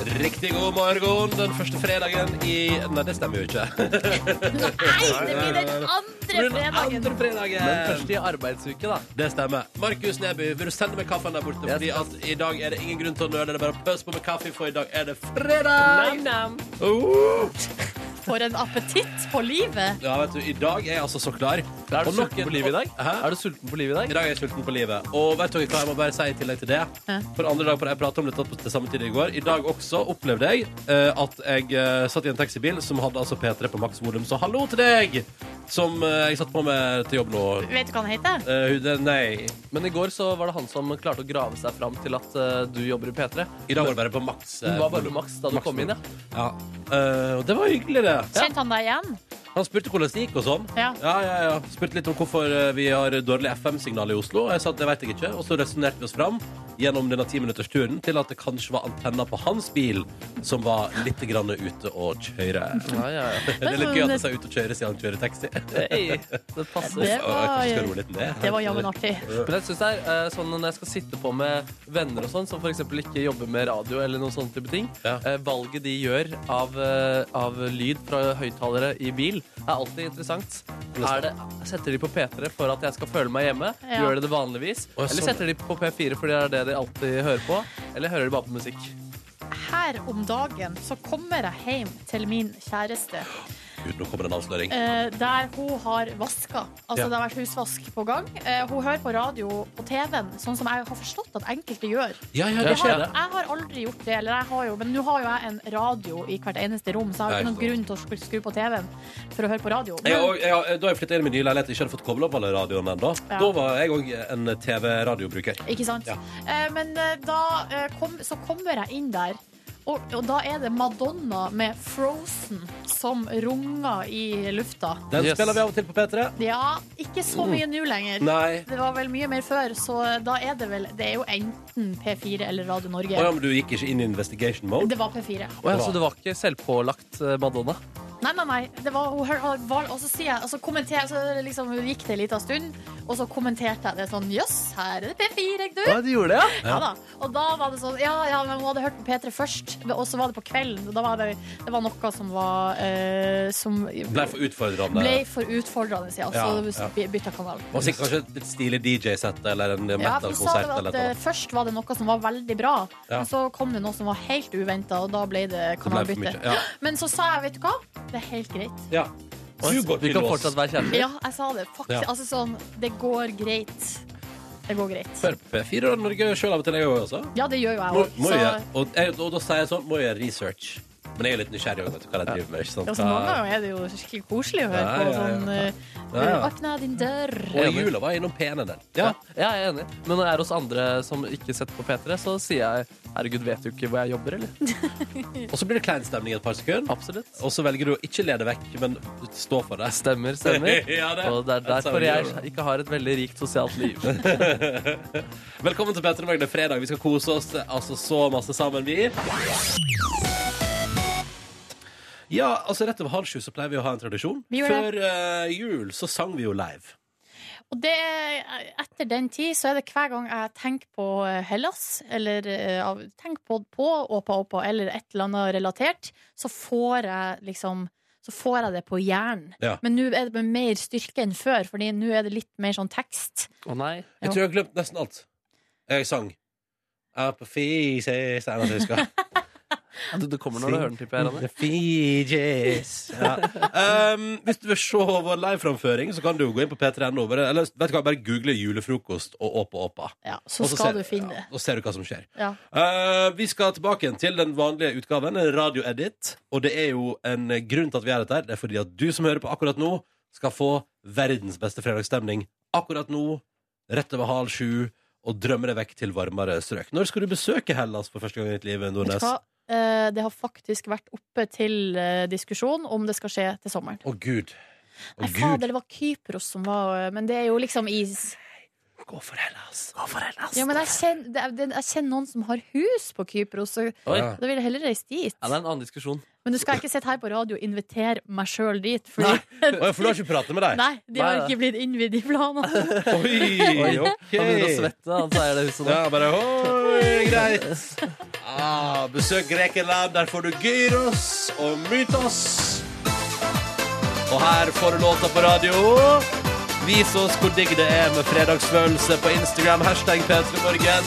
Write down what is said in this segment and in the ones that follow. Riktig god morgen den første fredagen i Nei, det stemmer jo ikke. Nei, det blir den andre fredagen. Men første i arbeidsuke, da. Det stemmer. Markus Neby, vil du sende meg kaffen der borte? Jeg Fordi at i dag er det ingen grunn til å nøle. Det er bare å pøse på med kaffe, for i dag er det Nam, fredag! nam. Oh! For en appetitt på livet. Ja, vet du, I dag er jeg altså så klar. Er du Og nok sulten en- på livet i dag? Hæ? Er du sulten på livet I i dag? dag er jeg sulten på livet. Og vet dere hva jeg må bare si i tillegg til det? Hæ? For andre dag på det, jeg pratet om dette på det samme tid i går. I dag også opplevde jeg eh, at jeg eh, satt i en taxibil som hadde altså P3 på maks volum. Så hallo til deg! Som eh, jeg satt på med til jobb nå. Vet du hva han heter? Eh, hun- det- nei. Men i går så var det han som klarte å grave seg fram til at eh, du jobber i P3. I dag var det bare på maks. eh, Hun var bare volum. på maks da du Maks kom inn, ja. Ja. Eh, og det var hyggelig, det. Kjente han deg igjen? Han spurte hvordan det gikk og sånn. Ja. Ja, ja, ja. Spurte litt om hvorfor eh, vi har dårlig FM-signal i Oslo. Og jeg sa at det vet jeg ikke. Og så resonnerte vi oss fram gjennom denne timinuttersturen til at det kanskje var antenna på hans bil som var litt grann ute å kjøre. ja, ja, ja. Det er litt gøy at jeg sa ute å kjøre siden han kjører taxi. Hey, det passer. Det Og jeg kanskje skal var, roe litt ned. det var jammen artig. Men jeg synes det er eh, sånn når jeg skal sitte på med venner og sånn, som f.eks. ikke jobber med radio eller noen sånne type ting, Ja. eh, valget de gjør av, eh, av lyd fra høyttalere i bil, er alltid interessant. Er det, setter de på P3 for at jeg skal føle meg hjemme? Ja. Gjør de det vanligvis? Å, Eller sånn. setter de på P4 fordi det er det de alltid hører på? Eller hører de bare på musikk? Her om dagen så kommer jeg hjem til min kjæreste. Gud, nå kommer det en avsløring. eh, der hun har vaska. Altså Ja. Det har vært husvask på gang. Eh, hun hører på radio på TV-en, sånn som jeg har forstått at enkelte gjør. Ja, ja, Ja, det Jeg skjer, har, det. jeg har aldri gjort det, eller jeg har jo, men nå har jo jeg en radio i hvert eneste rom, så jeg har Nei, ikke noen grunn til å skru- skru på TV-en for å høre på radio. Jeg, Men, og, jeg, da jeg flytta inn i min nye leilighet og ikke hadde fått kobla opp alle radioene ennå, Ja. da var jeg òg en TV-radiobruker. ikke sant? Ja. Eh, men eh, da eh, kom, så kommer jeg inn der. Og, og da er det Madonna med 'Frozen' som runger i lufta. Den Yes. spiller vi av og til på P3. Ja, ikke så mye nå lenger. Mm. Nei. Det var vel mye mer før, så eh, da er det vel Det er jo enten P4 eller Radio Norge. Å ja, men du gikk ikke inn i investigation mode? Det var P4. Å ja, så det var ikke selvpålagt eh, Madonna? Nei, nei, nei. Det var, hun hør- hun var, og så sier jeg og så, kommenter- så liksom, gikk det en liten stund, og så kommenterte jeg det sånn Jøss, her er det P4, ikke du? Å, de gjorde det, ja? Ja da. Og da var det sånn Ja, ja, men hun hadde hørt på P3 først, og så var det på kvelden. og Da var det, det var noe som var eh, Som Ble for utfordrende. ble for utfordrende, ja. Ja, Så ja. by- bytta kanal. Og sikkert kanskje et litt stilig DJ-sett eller en Ja, for hun sa metal-konsert. det eller at et eller eh, annet. Først var det noe som var veldig bra, Ja. men så kom det noe som var helt uventa, og da ble Det det ble for kanalbytte. mye. Men så sa jeg, vet du hva, det er helt greit. Ja. ja. Du går Vi til kan lås. fortsatt være kjærester. Ja, jeg sa det. Faktisk, Ja. altså sånn, det går greit. Det går greit. Hør på P4 og Norge sjøl av og til, jeg òg, altså. Ja, det gjør jo Må, jeg òg. må Så jeg, og, jeg, og da sier jeg sånn, må jeg gjøre research. Men jeg er litt nysgjerrig òg, vet du hva de driver med. ikke sant? ja, så Altså, mange ganger er det jo skikkelig koselig å høre Ja, på ja, ja. sånn eh, Ja, ja. Åpna din dør. Og i jula var jeg innom P1 en del. Ja, jeg er enig. Men når jeg er hos andre som ikke setter på P3, så sier jeg herregud, vet du ikke hvor jeg jobber, eller? Og så blir det klein stemning i et par sekunder. Absolutt. Og så velger du å ikke lede vekk, men stå for det. Stemmer, stemmer. Ja, det- Og det er that's how derfor you jeg roll. ikke har et veldig rikt sosialt liv. Velkommen til P3 Morgen. Det er fredag. Vi skal kose oss altså så masse sammen, vi. Ja, altså Rett over halv sju så pleier vi å ha en tradisjon. Vi gjør Før eh, jul så sang vi jo live. Og det, etter den tid så er det hver gang jeg tenker på eh, Hellas, eller eh, av- tenker på, på Åpa Åpa, eller et eller annet relatert, så får jeg liksom så får jeg det på hjernen. Ja. Men nå er det med mer styrke enn før, Fordi nå er det litt mer sånn tekst. Å nei. Jeg Ja. tror jeg har glemt nesten alt. Jeg sang Up a Fiji Det er noe altså, jeg husker. Du, det kommer når du hører den, tipper jeg. Rane. The Fijis. Ja. Um, hvis du vil se vår liveframføring, så kan du jo gå inn på p3.no. Bare, eller vet du hva, bare google 'julefrokost' og 'Åpa Åpa'. Ja, så Og så skal ser- du finne det. Ja, og ser du hva som skjer. Ja. Eh, vi skal tilbake igjen til den vanlige utgaven, en radioedit. Og det er jo en grunn til at vi er dette her. Det er fordi at du som hører på akkurat nå, skal få verdens beste fredagsstemning akkurat nå, rett over halv sju, og drømme deg vekk til varmere strøk. Når skal du besøke Hellas for første gang i ditt liv, Vet Nordnes? du hva? Eh, Det har faktisk vært oppe til eh, diskusjon om det skal skje til sommeren. Å, gud. Å, Nei, gud. øh, fader, det var Kypros som var Men det er jo liksom is. Gå for Hellas. Gå for Hellas. Ja, men jeg kjenner, det er- det- jeg kjenner noen som har hus på Kypros, så Oi. Ja. Ja, da vil jeg heller reise dit. det er en annen diskusjon. Men du skal ikke sitte her på radio og invitere meg sjøl dit, fordi Å, ja, for du har ikke pratet med deg? Nei, de har Nei, ikke blitt innvidd i planene. Oi, ok. Han begynner å svette, han sier det huset nå. Ja, bare oi, greit. Ah, besøk Grekeland, der får du gyros og mytos. Og her får du låta på radio. Vis oss hvor digg det er med fredagsfølelse på Instagram. Hashtag P3morgen.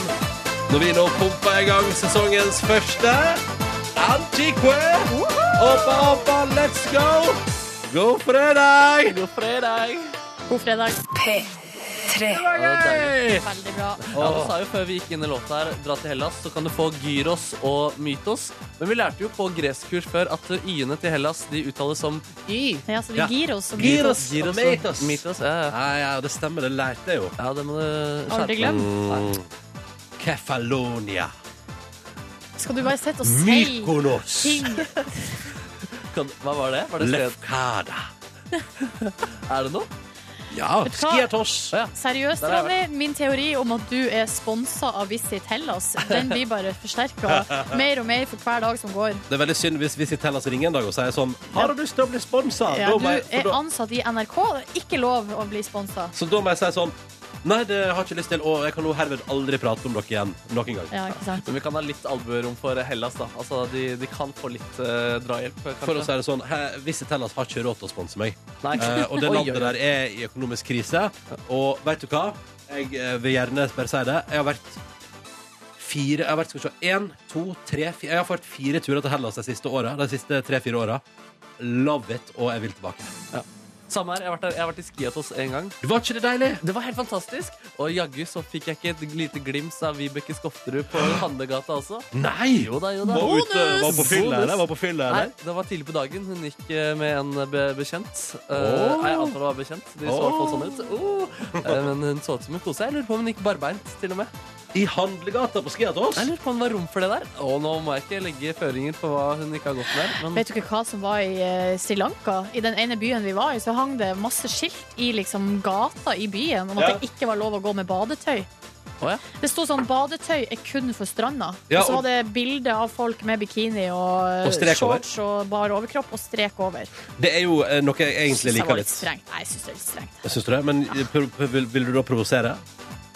Når vi nå pumper i gang sesongens første Antique! Oppa, oppa, let's go! God fredag! God fredag! God fredag. Ja, det er deilig. Veldig bra. Ja, du sa jo før vi gikk inn i låta her, dra til Hellas, så kan du få gyros og mytos. Men vi lærte jo på greskkurs før at y-ene til Hellas de uttales som y. Ja, så Ja. vi gir oss. og vi- Gyros og mytos. mytos ja, ja. Ja, ja, det stemmer. Det lærte jeg jo. Mm. ja, det må du Aldri skjerpe deg. glem. Nei. Kefalonia. Skal du bare sitte og si Mykonos. ting? Kan, hva var det? Var det skrevet? Lefkada. Er det noe? Ja, du hva? skiatos. Ja. Seriøst, Der er Ronny, min teori om at du er sponsa av Visit Hellas, den blir bare forsterka mer og mer for hver dag som går. Det er veldig synd hvis vi sitter Hellas ringer en dag og sier sånn Har du lyst til å bli sponsa? Ja, Da du må jeg- for er da- ansatt i NRK, det er ikke lov å bli sponsa. Så da må jeg si sånn Nei, det har jeg ikke lyst til, og jeg kan nå herved aldri prate om dere igjen. Nok en gang. Ja, ikke sant? Men vi kan ha litt albuerom for Hellas, da. Altså, de, de kan få litt eh, drahjelp, kanskje. For å si det sånn, he- Visit Hellas har ikke råd til å sponse meg. Nei. Eh, og det Oi, landet oi, oi. der er i økonomisk krise. Og vet du hva? Jeg eh, vil gjerne bare si det. Jeg har vært fire Jeg har vært, skal vi se, en, to, tre, fire Jeg har vært fire turer til Hellas de siste åra. De siste tre-fire åra. Love it, og jeg vil tilbake. Samme her. Jeg har vært, der, jeg har vært i Skiatos en gang. Var ikke det deilig? Det var helt fantastisk. Og jaggu så fikk jeg ikke et lite glimt av Vibeke Skofterud på Handlegata også. Nei! Jo da, jo da. Var, ute, var på fylla, Bonus! eller? Var på fylla, Nei, eller? det var tidlig på dagen. Hun gikk eh, med en be bekjent. Eh, Åh. Nei, jeg antar det var bekjent. De så i hvert fall sånn ut. Oh. Eh, men hun så ut som hun koste seg. Jeg lurer på om hun gikk barbeint, til og med. I handlegata på Skiatos? Jeg lurer på om det var rom for det der. Og nå må jeg ikke legge føringer på hva hun ikke har gått med. Men Vet du ikke hva som var i eh, Sri Lanka? I den ene byen vi var i, så hang det masse skilt i liksom gata i byen om at Ja. det ikke var lov å gå med badetøy. Å ja. Det sto sånn 'badetøy er kun for stranda'. Ja, og så og- var det bilde av folk med bikini og, Og strek over. shorts og bar overkropp og strek over. Det er jo eh, noe jeg Synes egentlig jeg var liker litt litt. strengt. Nei, jeg syns det er litt strengt. Syns du det? Men eh, pr- pr- vil, vil du da provosere?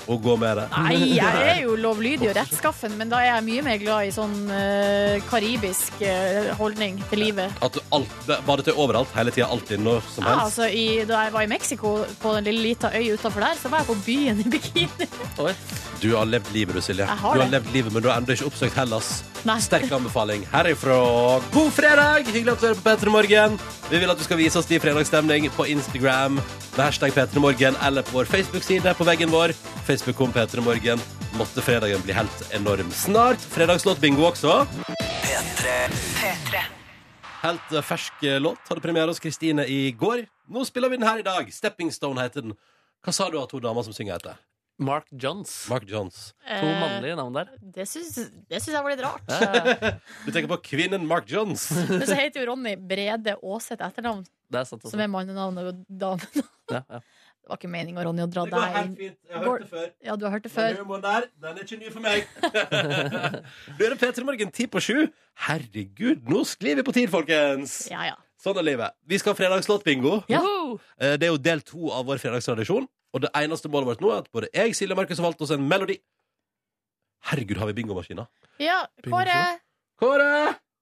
Og gå med det? Nei, jeg er jo lovlydig og rettskaffen, men da er jeg mye mer glad i sånn eh, karibisk eh, holdning til livet. At du alt, det- badetøy overalt, hele tida, alltid, når som Ja, helst? altså, i, da jeg var i Mexico, på den lille lita øy utenfor der, så var jeg på byen i bikini. oi. Du har levd livet, du, Silje. Jeg har du har det. levd livet, Men du har ennå ikke oppsøkt Hellas. Nei. Sterk anbefaling herifra. God fredag! Hyggelig at du hører på P3 Morgen. Vi vil at du skal vise oss din fredagsstemning på Instagram med hashtag P3 Morgen eller på vår Facebook-side på veggen vår. Facebook om P3 Morgen. Måtte fredagen bli helt enorm. Snart fredagslåt bingo også. Helt eh, fersk eh, låt hadde premiere hos Kristine i går. Nå spiller vi den her i dag. Stepping Stone heter den. Hva sa du at hun dama som synger, heter? Mark Johns. Mark Johns. To mannlige navn der. Eh, Det syns, det syns jeg var litt rart. Ja, Du tenker på kvinnen Mark Johns. Men så heter jo Ronny Brede Aaseth etternavn, det er sant. som Også. er mannenavnet og damenavnet. Ja, ja. Det var ikke meninga, Ronny, å dra Det går deg inn. helt fint. Jeg har hørt det før. Ja, du har hørt det Den før. humoren der, den er ikke ny for meg. du er P3 Morgen ti på sju. Herregud, nå sklir vi på tid, folkens! Ja, ja. Sånn er livet. Vi skal ha fredagslåtbingo. Ja. Woohoo! Eh, Det er jo del to av vår fredagstradisjon. Og det eneste målet vårt nå er at både jeg, Silje og Markus har valgt oss en melodi. Herregud, har vi bingomaskina? ja Kåre. Kåre!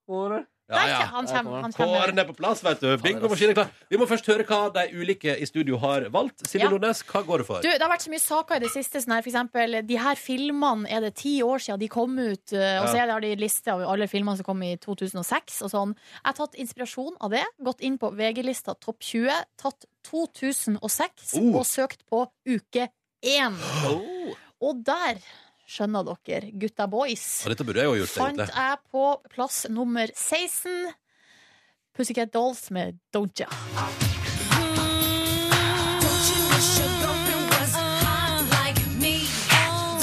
Hvor- Ja, Nei, ja. han kommer. Han kommer. Kåren er på plass, vet du. Bingomaskinen er klar. Vi må først høre hva de ulike i studio har valgt. Silje Ja. Nordnes, hva går det for? Du, det har vært så mye saker i det siste. Sånn her, for eksempel, de her filmene er det ti år siden de kom ut. eh, Og så Ja. er det, har de en liste av alle filmene som kom i 2006. Og sånn. Jeg har tatt inspirasjon av det. Gått inn på VG-lista topp 20. Tatt 2006 Oh. og søkt på uke 1. Oh. Og der, skjønner dere, gutta boys, Og dette burde jeg jo ha gjort, fant egentlig. jeg på plass nummer 16 Pussycat Dolls med Don't Ya. Don't you wish your girlfriend was hot like me?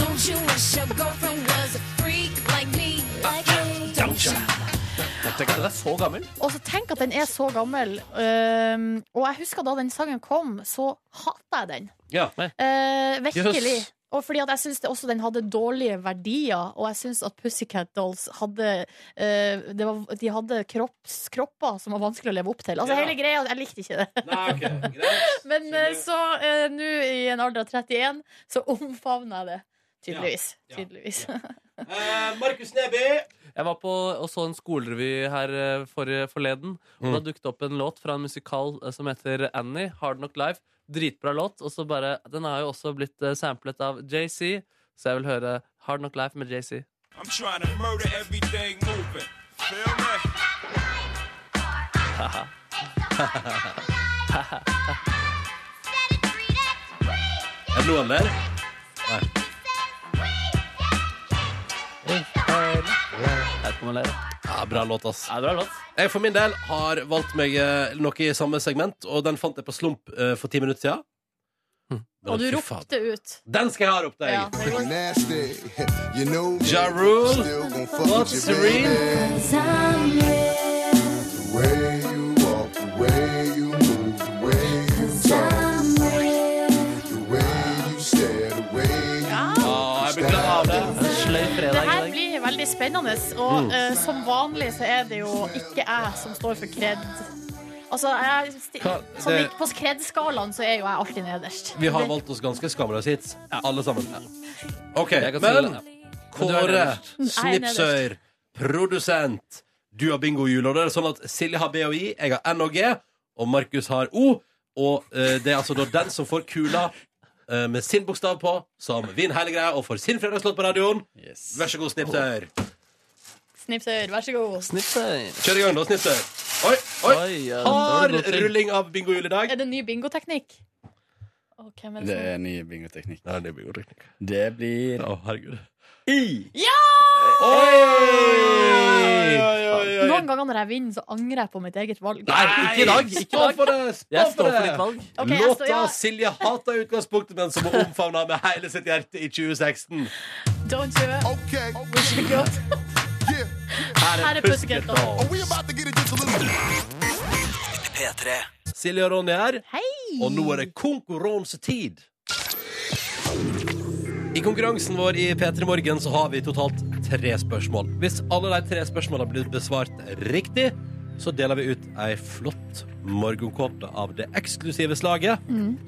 Don't you wish your girlfriend was a freak like me? Don't you? Tenk at den er så gammel. Og så tenk at den er så gammel. Øhm, og jeg husker da den sangen kom, så hata jeg den. Ja. Eh, virkelig. Jøss. Og fordi at jeg syns det- også den hadde dårlige verdier, og jeg syns at Pussycat Dolls hadde eh, det var, De hadde kropps, kropper som var vanskelig å leve opp til. Altså Ja. hele greia, jeg likte ikke det. Nei, ok, greit. Men eh, så eh, nå, i en alder av 31, så omfavner jeg det. Tydeligvis. Ja. Ja. Tydeligvis. Eh, Markus Neby. Jeg var på og så en skolerevy her eh, forrige- forleden. Og Mm. Da dukket det opp en låt fra en musikal eh, som heter Annie, Hard Knock Live. Dritbra låt. Og så bare, Den har jo også blitt eh, samplet av JC, så jeg vil høre Hard Knock Life med JC. I'm trying to murder everything moving. Feel me? Er det noen der? Jeg vet ikke om jeg ler. Ja, bra låt, ass. Ja, bra låt. Jeg for min del har valgt meg eh, noe i samme segment, og den fant jeg på Slump eh, for ti minutter siden. Men Og du fy faen. ropte ut. Den skal jeg ha ropt, jeg! Ja, det gjorde- nasty. You know me. Ja Rule, Still gon' fuck What's with the you, baby. The way you walk, the way you move, the way you talk, the way you stare, the way you Å, jeg blir glad av det. En sløy Det fredag i her dag. blir veldig spennende, og eh, som vanlig så er det jo ikke jeg som står for kred. Altså, jeg, sti- Hva? sånn Det- i- på kred-skalaen så er jo jeg alltid nederst. Vi har valgt oss ganske skamløse hits, alle sammen. OK, Jeg kan stille men deg. Men du Mm, er Kåre nederst. Nei, Snipsøyr, produsent, du har bingo jul, og det er sånn at Silje har B og I, jeg har N og G, og Markus har O, og eh, det er altså da den som får kula eh, med sin bokstav på, som vinner hele greia og får sin fredagslåt på radioen. Vær så god, Snipsøyr. Snipsøyr, vær så god. Snipser. Kjør i gang, da, Snipsøyr. Oi, oi. Oi, ja, da var Hard det god til. rulling av bingo jul i dag. Er det ny bingoteknikk? Å, hvem er Det det som er ny bingoteknikk. Nei, det blir god teknikk. Det blir Å, herregud. Ja! Oi! Noen ganger når jeg vinner, så angrer jeg på mitt eget valg. Nei, ikke i dag. Ikke i Stå dag. for det! Stå Jeg for står for det! ditt valg. Ok, jeg Låta står- ja. Silje hater i utgangspunktet, men som hun omfavna med hele sitt hjerte i 2016. Don't you ever- Okay, yeah. Her er Pussycat Dolls. Are Oh, we about to get it just a little Silje og Ronny her, Hei! og nå er det konkurransetid. I konkurransen vår i P3 Morgen så har vi totalt tre spørsmål. Hvis alle de tre spørsmålene blir besvart riktig, så deler vi ut ei flott morgenkåpe av det eksklusive slaget,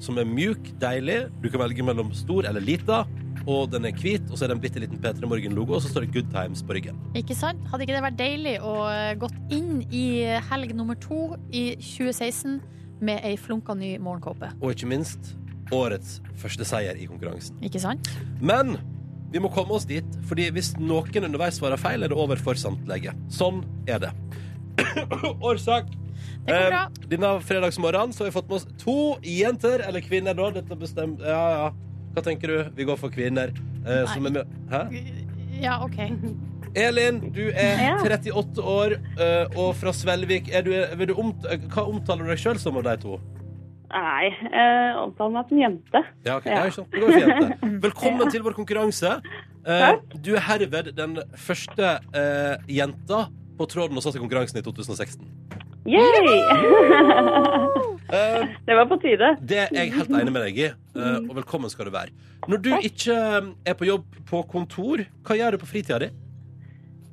som er mjuk, deilig. Du kan velge mellom stor eller lita. Og den er hvit, og så er det en bitte liten P3 Morgen-logo, og så står det Good Times på ryggen. Ikke sant? Hadde ikke det vært deilig å eh, gått inn i helg nummer to i 2016 med ei flunka ny morgenkåpe? og ikke minst årets første seier i konkurransen. Ikke sant? Men vi må komme oss dit, fordi hvis noen underveis svarer feil, er det over for samtlige. Sånn er det. Årsak. Det går bra. Eh, denne fredagsmorgenen så har vi fått med oss to jenter, eller kvinner, da. Dette bestem- Ja, ja. Hva tenker du? Vi går for kvinner. Eh, som er med. Hæ? Ja, OK. Elin, du er 38 år eh, og fra Svelvik. Er du, vil du omt hva omtaler du deg sjøl som av de to? Nei, eh, omtale meg som jente. Ja, ok. Ja. Ja, ikke sant. Det går fint. det. Velkommen til vår konkurranse. Eh, du er herved den første eh, jenta på tråden hos oss i konkurransen i 2016. Yay! Eh, det var på tide. det er jeg helt enig med deg i, eh, og velkommen skal du være. Når du ikke eh, er på jobb på kontor, hva gjør du på fritida di?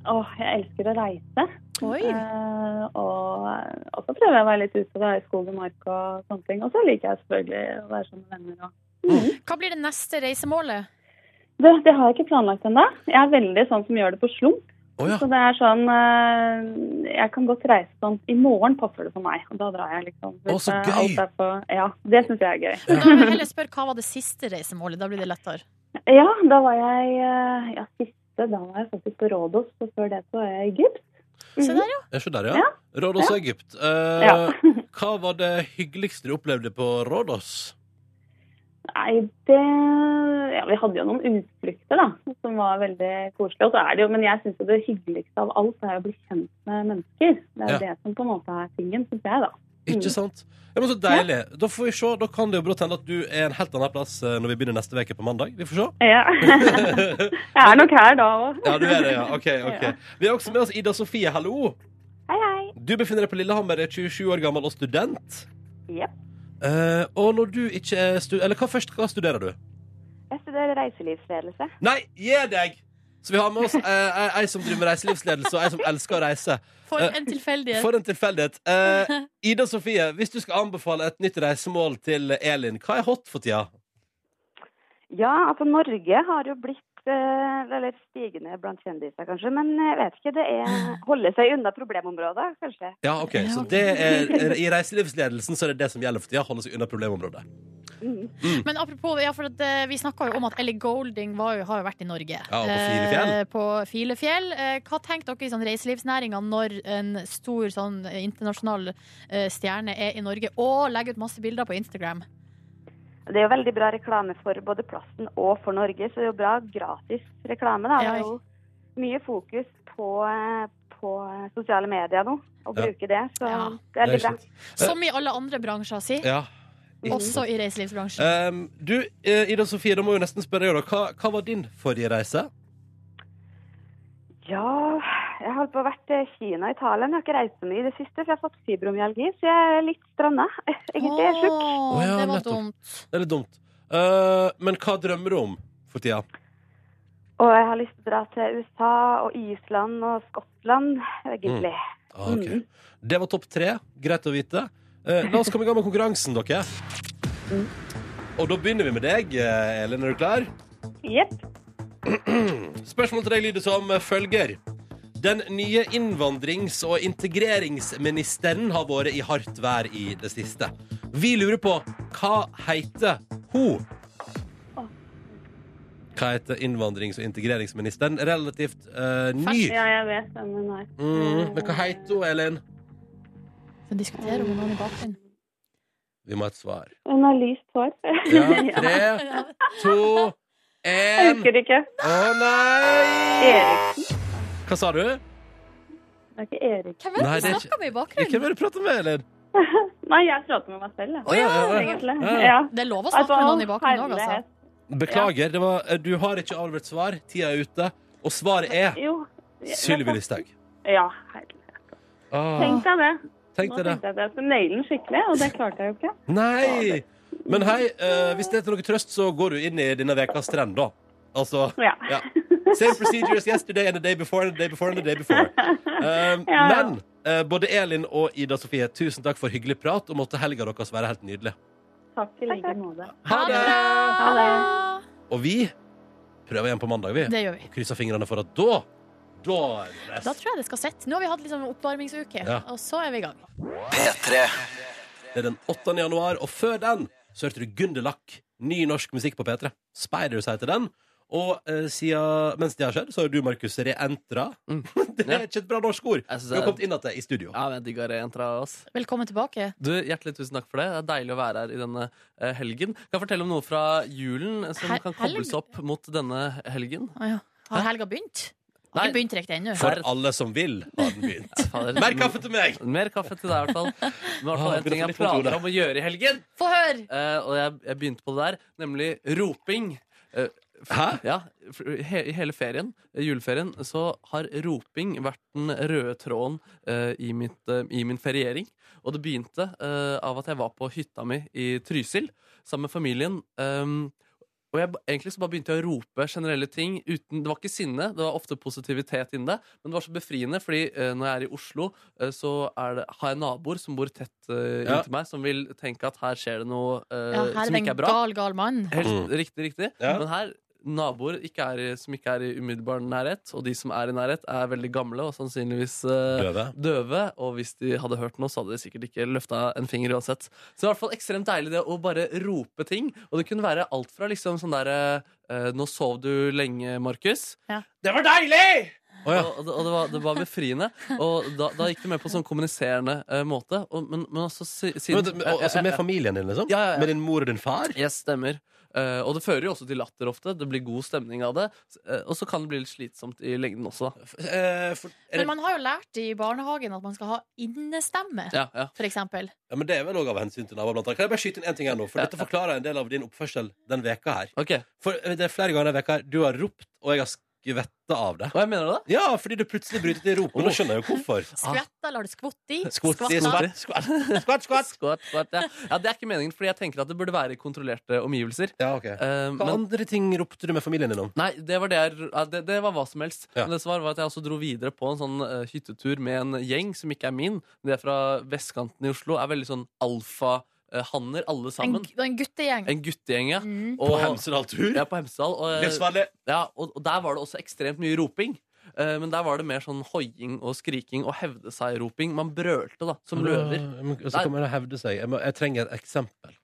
Åh, jeg elsker å reise. Oi. Eh, og, og så prøver jeg å være litt ute da, i skog og mark og sånne ting. Og så liker jeg selvfølgelig å være sammen med venner. Og... Hva blir det neste reisemålet? Det, det har jeg ikke planlagt ennå. Jeg er veldig sånn som gjør det på slump. Å ja. Så det er sånn eh, Jeg kan godt reise sånn I morgen passer det for meg. Og da drar jeg, liksom. Å, så eh, gøy! alt er på, ja, det syns jeg er gøy. Da vil jeg heller spørre hva var det siste reisemålet. Da blir det lettere. Ja, da var jeg eh, Ja, siste da var jeg faktisk på Rådås, og før det så var jeg i Egypt. Se der, ja. Er ikke der, ja? Rådås og Egypt. Eh, Ja. hva var det hyggeligste du opplevde på Rådås? Nei, det Ja, vi hadde jo noen utflukter, da, som var veldig koselige. Og så er det jo Men jeg syns jo det hyggeligste av alt er å bli kjent med mennesker. Det er jo det som på en måte er tingen, syns jeg, da. Ikke sant? Mm. Ja, men Så deilig. Da får vi se. Da kan det jo brått hende at du er en helt annen plass eh, når vi begynner neste uke på mandag. Vi får se. Ja. jeg er nok her da òg. Ja, du er det, ja. Ok, ok. Vi har også med oss Ida Sofie, hallo. Du befinner deg på Lillehammer, er 27 år gammel og student. Jep. Eh, og når du ikke er stu Eller hva først, hva studerer du? Jeg studerer reiselivsledelse. Nei, gi deg! Så vi har med oss eh, ei ei som driver med reiselivsledelse, og ei som elsker å reise. For Eh, en tilfeldighet. For en tilfeldighet. Eh, Ida Sofie, hvis du skal anbefale et nytt reisemål til Elin, hva er hot for tida? Ja, altså Norge har jo blitt eh, eller stigende blant kjendiser, kanskje. Men eh, jeg vet ikke. Det er holde seg unna problemområder, kanskje. Ja, ok, så det er, I reiselivsledelsen så er det det som gjelder for tida. Holde seg unna problemområdet. Mm. Men apropos, ja, for at, eh, vi snakka jo om at Ellie Golding var jo, har jo vært i Norge. Ja, og på Filefjell. Eh, på Filefjell. Eh, hva tenker dere i sånn reiselivsnæringa når en stor sånn internasjonal eh, stjerne er i Norge og legger ut masse bilder på Instagram? Eh, Det er jo veldig bra reklame for både plassen og for Norge, så det er jo bra gratis reklame. da. Det Ja. er jo mye fokus på, eh, på sosiale medier nå, og Ja. bruke det. Så Ja. det er veldig bra. Som i alle andre bransjer, si. Ja. Også i reiselivsbransjen. Um, du, eh, Ida Sofie, da må jeg jo nesten spørre deg, da. Hva, hva var din forrige reise? Ja, jeg har holdt på å vært i Kina og Italia. men Jeg har ikke reist så mye i det siste, for jeg har fått fibromyalgi, så jeg er litt stranda. Egentlig er jeg sjuk. Åh, Å, ja, det var nettopp. dumt. Det er litt dumt. Eh, men hva drømmer du om for tida? Og jeg har lyst til å dra til USA og Island og Skottland, egentlig. Ah, ok. Det var topp tre. Greit å vite. Eh, la oss komme i gang med konkurransen, dere. Og da begynner vi med deg, eh, Elin. Er du klar? Jepp. Spørsmålet til deg lyder som følger. Den nye innvandrings- og integreringsministeren har vært i hardt vær i det siste. Vi lurer på hva heter hun? Hva heter innvandrings- og integreringsministeren? Relativt eh, ny. Ja, jeg vet hvem hun er. Mm, men hva heter hun, Elin? Vi diskuterer om noen i bakgrunnen. Vi må ha et svar. Hun har lyst hår. Ja, tre, to, Jeg én. husker det ikke. Å nei! Eriksen. Hva sa du? Det er ikke Erik. Hvem er Nei, det er det vi ikke- snakker med i Hvem bakgrunnen? er det du prater med, Elin? Nei, jeg prater med meg selv, jeg. Egentlig. Ja. Det er lov å snakke med noen i bakgrunnen òg, altså. herlighet. Beklager, det var, eh, du har ikke avlevert svar. Tida er ute. Og svaret er Jo. Sylvi Listhaug. Ja, herlighet. Ah, Tenk deg det. tenk Nå deg det. tenkte jeg at jeg skulle naile den skikkelig, og det klarte jeg jo ikke. Nei! Men hei, eh, hvis det er til noe trøst, så går du inn i denne ukas trend, da. Altså Ja. ja. Same procedure as yesterday and the day before and the day before and the day before. Um, Ja. Men eh, både Elin og Ida Sofie, tusen takk for hyggelig prat, og måtte helga deres være helt nydelig. Takk i like måte. Ha det! Ha det. Og vi prøver igjen på mandag, vi. Det gjør vi. Og krysser fingrene for at da Da er det Da rest. tror jeg det skal sitte. Nå har vi hatt liksom en oppvarmingsuke, Ja. og så er vi i gang. Det er den 8. januar, og før den så hørte du Gunderlach. Ny norsk musikk på P3. Spiders heter den. Og eh, siden, mens det har skjedd, så har jo du, Markus, reentra. Det Mm. Ja. er ikke et bra norsk ord. Jeg synes Du har det kommet inn igjen i studio. Ja, men jeg digger reentra oss. Velkommen tilbake. Du, Hjertelig tusen takk for det. Det er deilig å være her i denne eh, helgen. Kan jeg fortelle om noe fra julen som Hel- kan kobles helg? opp mot denne helgen? Å ja. Har helga begynt? Har Nei. ikke begynt riktig ennå. For alle som vil, har den begynt. Fader, Mer kaffe til meg! Mer kaffe til deg, i hvert fall. Men i hvert fall Ah, en ting jeg begynner å få litt vondt i planer om å gjøre i helgen, Få høre! eh, og jeg, jeg begynte på det der, nemlig roping. Eh, f- Hæ? Ja, f- he, I hele ferien, eh, juleferien så har roping vært den røde tråden eh, i, mitt, eh, i min feriering. Og det begynte eh, av at jeg var på hytta mi i Trysil sammen med familien. ehm, og jeg, ba- egentlig så bare begynte jeg å rope generelle ting. Uten, det var ikke sinne, det var ofte positivitet inni det. Men det var så befriende, fordi eh, når jeg er i Oslo, eh, så er det, har jeg naboer som bor tett eh, Ja. inntil meg, som vil tenke at her skjer det noe eh, Ja, her er det som en ikke er bra. gal, gal mann. Helt Mm. riktig, riktig. Ja. Men her, naboer ikke er, i- som ikke er i umiddelbar nærhet, og de som er i nærhet, er veldig gamle og sannsynligvis eh, Døve. døve. Og hvis de hadde hørt noe, så hadde de sikkert ikke løfta en finger uansett. Så det er i hvert fall ekstremt deilig det å bare rope ting. Og det kunne være alt fra liksom sånn derre Nå sov du lenge, Markus. Ja. Det var deilig! Å ja. Og, og, det, og det, var, det var befriende. Og da, da gikk det med på sånn kommuniserende eh, måte. Og, men, men også si, Men, siden Eh, vent, men, altså Med familien din, liksom? Ja, ja, ja. Med din mor og din far? Yes, stemmer. Eh, og det fører jo også til latter ofte. Det blir god stemning av det. Eh, og så kan det bli litt slitsomt i lengden også, da. Eh, for, er det, Men man har jo lært i barnehagen at man skal ha innestemme, Ja, ja. for eksempel. ja, men det er vel òg av hensyn til naboer, blant annet. Kan jeg bare skyte inn en ting her nå? For Ja, dette ja. forklarer en del av din oppførsel den veka her. Ok. For eh, det er flere ganger denne veka her du har ropt, og jeg har skvette av det. Og jeg mener det. Ja, fordi du plutselig bryter til rop. Men nå skjønner jeg jo hvorfor. Skvetta, eller har du skvott i? Skvott Ah. i, Skvatta. skvatt, skvatt, skvatt, skvatt. Skvatt, skvatt, ja. ja, Det er ikke meningen, fordi jeg tenker at det burde være i kontrollerte omgivelser. Ja, ok. Eh, Hva men, andre ting ropte du med familien din om? nei, det var, det, jeg- ja, det, det var hva som helst. Ja. Men det som var, var at jeg også dro videre på en sånn eh, hyttetur med en gjeng som ikke er min. De er fra vestkanten i Oslo. Er veldig sånn alfahanner, En, alle sammen. gu- en guttegjeng. En guttegjeng, ja. Mm. På Og- Hemsedal-tur? Ja, på Hemsedal. Og, eh, Livsfarlig. Ja, og, og der var det også ekstremt mye roping. Eh, men der var det mer sånn hoiing og skriking og hevde-seg-roping. Man brølte, da, som løver. Men- Så kan man hevde seg. Jeg, må, jeg trenger et eksempel.